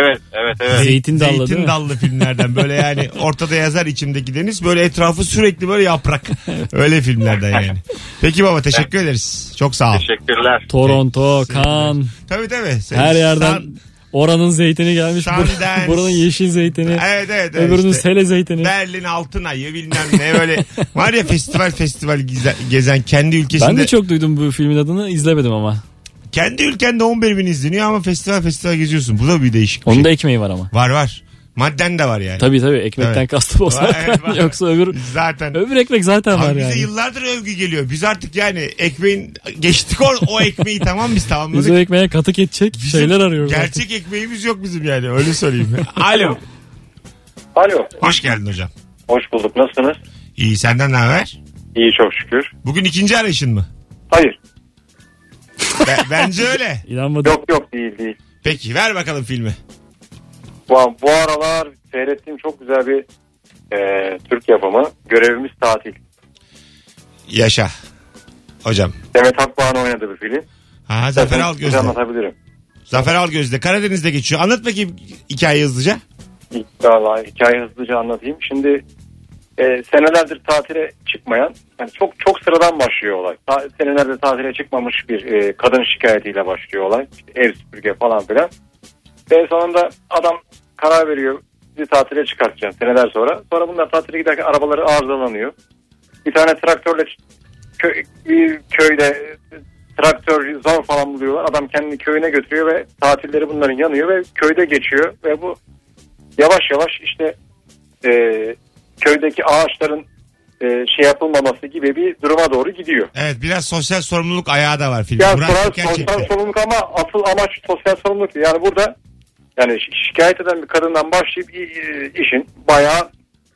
Speaker 15: Evet, evet, evet.
Speaker 2: Zeytin dallı filmlerden böyle yani ortada yazar içimdeki deniz böyle etrafı sürekli böyle yaprak. Öyle filmlerden yani. Peki baba teşekkür ederiz. Çok sağ ol.
Speaker 15: Teşekkürler.
Speaker 3: Toronto, Kan.
Speaker 2: Tabii tabii. Sen-
Speaker 3: Her yerden
Speaker 2: Sun-
Speaker 3: oranın zeytini gelmiş. bur-
Speaker 2: Sundance.
Speaker 3: buranın yeşil zeytini.
Speaker 2: Evet evet. evet
Speaker 3: Öbürünün
Speaker 2: işte.
Speaker 3: sele zeytini.
Speaker 2: Berlin Altın Ayı bilmem ne böyle. Var ya festival festival gize- gezen kendi ülkesinde.
Speaker 3: Ben de çok duydum bu filmin adını izlemedim ama.
Speaker 2: Kendi ülkende 11 bin izleniyor ama festival festival geziyorsun. Bu da bir değişik bir
Speaker 3: Onun
Speaker 2: şey.
Speaker 3: da ekmeği var ama.
Speaker 2: Var var. Madden de var yani.
Speaker 3: Tabii tabii ekmekten
Speaker 2: Evet.
Speaker 3: kastım o zaten.
Speaker 2: Var, var.
Speaker 3: Yoksa öbür
Speaker 2: Zaten.
Speaker 3: öbür ekmek zaten var
Speaker 2: Abi bize
Speaker 3: yani.
Speaker 2: yıllardır övgü geliyor. Biz artık yani ekmeğin geçtik o, o ekmeği tamam biz
Speaker 3: Biz o
Speaker 2: tamamladık.
Speaker 3: ekmeğe katık edecek şeyler arıyoruz. artık.
Speaker 2: Gerçek ekmeğimiz yok bizim yani öyle söyleyeyim. Alo.
Speaker 14: Alo.
Speaker 2: Hoş geldin hocam.
Speaker 14: Hoş bulduk. Nasılsınız?
Speaker 2: İyi senden ne haber?
Speaker 14: İyi çok şükür.
Speaker 2: Bugün ikinci arayışın mı?
Speaker 14: Hayır.
Speaker 2: Be- bence öyle.
Speaker 3: İnanmadım.
Speaker 14: Yok yok değil değil.
Speaker 2: Peki ver bakalım filmi.
Speaker 14: Bu, bu aralar seyrettiğim çok güzel bir e, Türk yapımı. Görevimiz tatil.
Speaker 2: Yaşa. Hocam.
Speaker 14: Demet Akbağ'ın oynadığı bir film.
Speaker 2: Ha, Zafer Algöz'de.
Speaker 14: Anlatabilirim.
Speaker 2: Zafer Algöz'de. Karadeniz'de geçiyor. Anlat bakayım hikayeyi hızlıca.
Speaker 14: Valla hikaye hızlıca anlatayım. Şimdi e, senelerdir tatile çıkmayan, yani çok çok sıradan başlıyor olay. Ta- senelerdir tatile çıkmamış bir e, kadın şikayetiyle başlıyor olay. İşte ev süpürge falan filan. En sonunda adam karar veriyor. Bizi tatile çıkartacağım seneler sonra. Sonra bunlar tatile giderken arabaları arızalanıyor. Bir tane traktörle kö- bir köyde e, traktör zor falan buluyorlar. Adam kendini köyüne götürüyor ve tatilleri bunların yanıyor ve köyde geçiyor ve bu yavaş yavaş işte e, köydeki ağaçların e, şey yapılmaması gibi bir duruma doğru gidiyor.
Speaker 2: Evet biraz sosyal sorumluluk ayağı da var filmde.
Speaker 14: Ya
Speaker 2: Murat
Speaker 14: sosyal-
Speaker 2: Türker çekti.
Speaker 14: sosyal sorumluluk ama asıl amaç sosyal sorumluluk. Yani burada yani şi- şikayet eden bir kadından başlayıp i- i- işin bayağı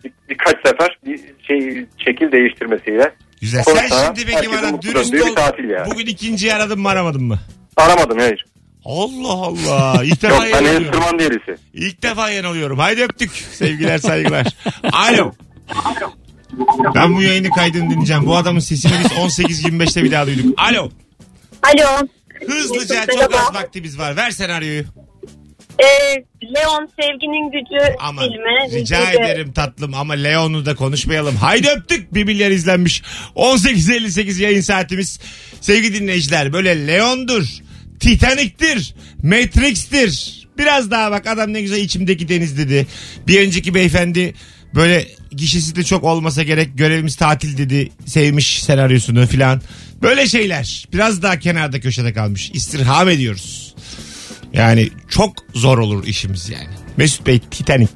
Speaker 14: bir- birkaç sefer bir şey şekil değiştirmesiyle.
Speaker 2: Güzel.
Speaker 14: Sonra
Speaker 2: Sen şimdi peki
Speaker 14: herkesin
Speaker 2: bana
Speaker 14: mutlu
Speaker 2: dürüst
Speaker 14: döndüğü
Speaker 2: ol.
Speaker 14: bir tatil yani.
Speaker 2: Bugün ikinciyi aradın mı aramadın mı?
Speaker 14: Aramadım hayır.
Speaker 2: Allah Allah. İlk defa
Speaker 14: Yok ben henüz
Speaker 2: yanılıyorum.
Speaker 14: tırman delisi.
Speaker 2: İlk defa yanılıyorum. Haydi öptük. Sevgiler saygılar. Alo. Ben bu yayını kaydını dinleyeceğim. Bu adamın sesini biz 18-25'te bir daha duyduk. Alo.
Speaker 16: Alo.
Speaker 2: Hızlıca
Speaker 16: Mesut,
Speaker 2: çok az
Speaker 16: merhaba.
Speaker 2: vaktimiz var. Ver senaryoyu.
Speaker 16: Ee, Leon Sevginin Gücü
Speaker 2: Aman
Speaker 16: filmi.
Speaker 2: rica
Speaker 16: Gücü.
Speaker 2: ederim tatlım ama Leon'u da konuşmayalım. Haydi öptük. 1 milyar izlenmiş. 18.58 yayın saatimiz. Sevgili dinleyiciler böyle Leon'dur. Titanic'tir. Matrix'tir. Biraz daha bak adam ne güzel içimdeki deniz dedi. Bir önceki beyefendi böyle gişesi de çok olmasa gerek görevimiz tatil dedi. Sevmiş senaryosunu filan. Böyle şeyler. Biraz daha kenarda köşede kalmış. İstirham ediyoruz. Yani çok zor olur işimiz yani. Mesut Bey Titanic.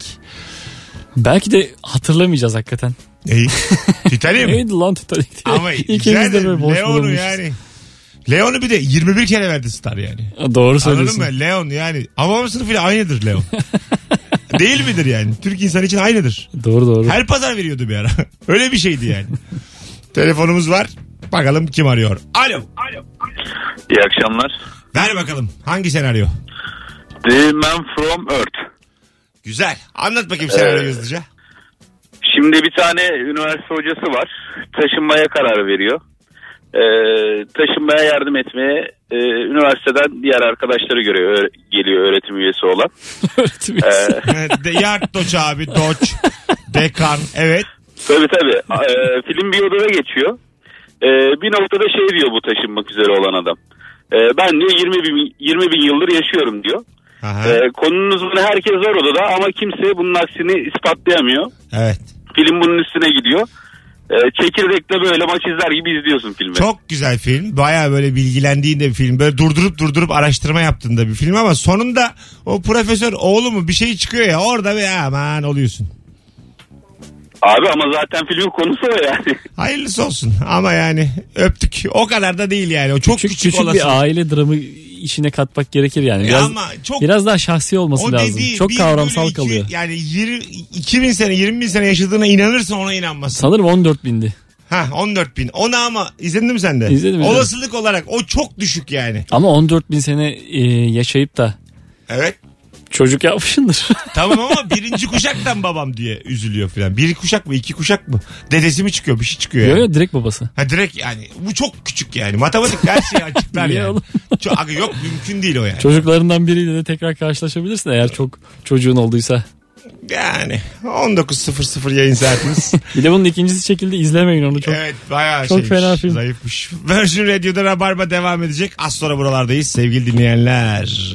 Speaker 3: Belki de hatırlamayacağız hakikaten.
Speaker 2: Neyi? Titanic mi?
Speaker 3: Neydi lan Titanic diye.
Speaker 2: Ama
Speaker 3: İkimiz de
Speaker 2: yani
Speaker 3: böyle boş
Speaker 2: Leon'u
Speaker 3: bulunmuşuz.
Speaker 2: yani. Leon'u bir de 21 kere verdi star yani.
Speaker 3: Doğru söylüyorsun.
Speaker 2: Anladın mı? Leon yani. Ama sınıfıyla aynıdır Leon. Değil midir yani? Türk insanı için aynıdır.
Speaker 3: Doğru doğru.
Speaker 2: Her pazar veriyordu bir ara. Öyle bir şeydi yani. Telefonumuz var. Bakalım kim arıyor. Alo.
Speaker 17: İyi akşamlar.
Speaker 2: Ver bakalım. Hangi senaryo?
Speaker 17: The Man From Earth.
Speaker 2: Güzel. Anlat bakayım senaryoyu
Speaker 17: Ee,
Speaker 2: hızlıca.
Speaker 17: Şimdi bir tane üniversite hocası var. Taşınmaya karar veriyor. Ee, taşınmaya yardım etmeye e, üniversiteden diğer arkadaşları görüyor. Öğre- geliyor öğretim üyesi olan. Ee,
Speaker 3: öğretim
Speaker 13: Ee,
Speaker 17: üyesi.
Speaker 2: Evet, de, Yard Doç abi. Doç. Dekan. Evet.
Speaker 17: Tabii tabii. Ee, film bir odada geçiyor. Ee, bir noktada şey diyor bu taşınmak üzere olan adam. Ee, ben diyor 20 bin, 20 bin yıldır yaşıyorum diyor. Ee, konunun uzmanı herkes var odada ama kimse bunun aksini ispatlayamıyor.
Speaker 2: Evet.
Speaker 17: Film bunun üstüne gidiyor. Ee, çekirdekle böyle maç izler gibi izliyorsun filmi.
Speaker 2: Çok güzel film. Baya böyle bilgilendiğin de bir film. Böyle durdurup durdurup araştırma yaptığın da bir film ama sonunda o profesör oğlu mu bir şey çıkıyor ya orada ve aman oluyorsun.
Speaker 17: Abi ama zaten filmin konusu o yani.
Speaker 2: Hayırlısı olsun ama yani öptük. O kadar da değil yani. O çok küçük,
Speaker 3: Küçük
Speaker 2: olası.
Speaker 3: bir aile dramı işine katmak gerekir yani.
Speaker 2: Ya
Speaker 3: Biraz,
Speaker 2: ama çok-
Speaker 3: biraz daha şahsi olması
Speaker 2: O
Speaker 3: lazım.
Speaker 2: dediği
Speaker 3: Çok
Speaker 2: bir
Speaker 3: kavramsal
Speaker 2: bölü iki,
Speaker 3: kalıyor.
Speaker 2: Yani 20, 2000 sene 20 bin sene yaşadığına inanırsan ona inanmazsın.
Speaker 3: Sanırım 14 bindi.
Speaker 2: Ha 14 bin. Ona ama izledin mi sen de?
Speaker 3: İzledim, izledim.
Speaker 2: Olasılık olarak o çok düşük yani.
Speaker 3: Ama 14 bin sene e, yaşayıp da
Speaker 2: Evet.
Speaker 3: çocuk yapmışındır.
Speaker 2: Tamam ama birinci kuşaktan babam diye üzülüyor filan. Bir kuşak mı iki kuşak mı? Dedesi mi çıkıyor bir şey çıkıyor
Speaker 3: Yok
Speaker 2: yani.
Speaker 3: yok direkt babası.
Speaker 2: Ha direkt yani bu çok küçük yani. Matematik her şeyi açıklar
Speaker 3: Niye
Speaker 2: yani.
Speaker 3: oğlum?
Speaker 2: Çok, aga yok mümkün değil o yani.
Speaker 3: Çocuklarından biriyle de tekrar karşılaşabilirsin eğer çok çocuğun olduysa.
Speaker 2: Yani 19.00 yayın saatimiz.
Speaker 3: Bir de bunun ikincisi çekildi izlemeyin onu çok.
Speaker 2: Evet bayağı
Speaker 3: Çok
Speaker 2: şeymiş,
Speaker 3: fena film.
Speaker 2: Zayıfmış. Virgin Radio'da Rabarba devam edecek. Az sonra buralardayız sevgili dinleyenler.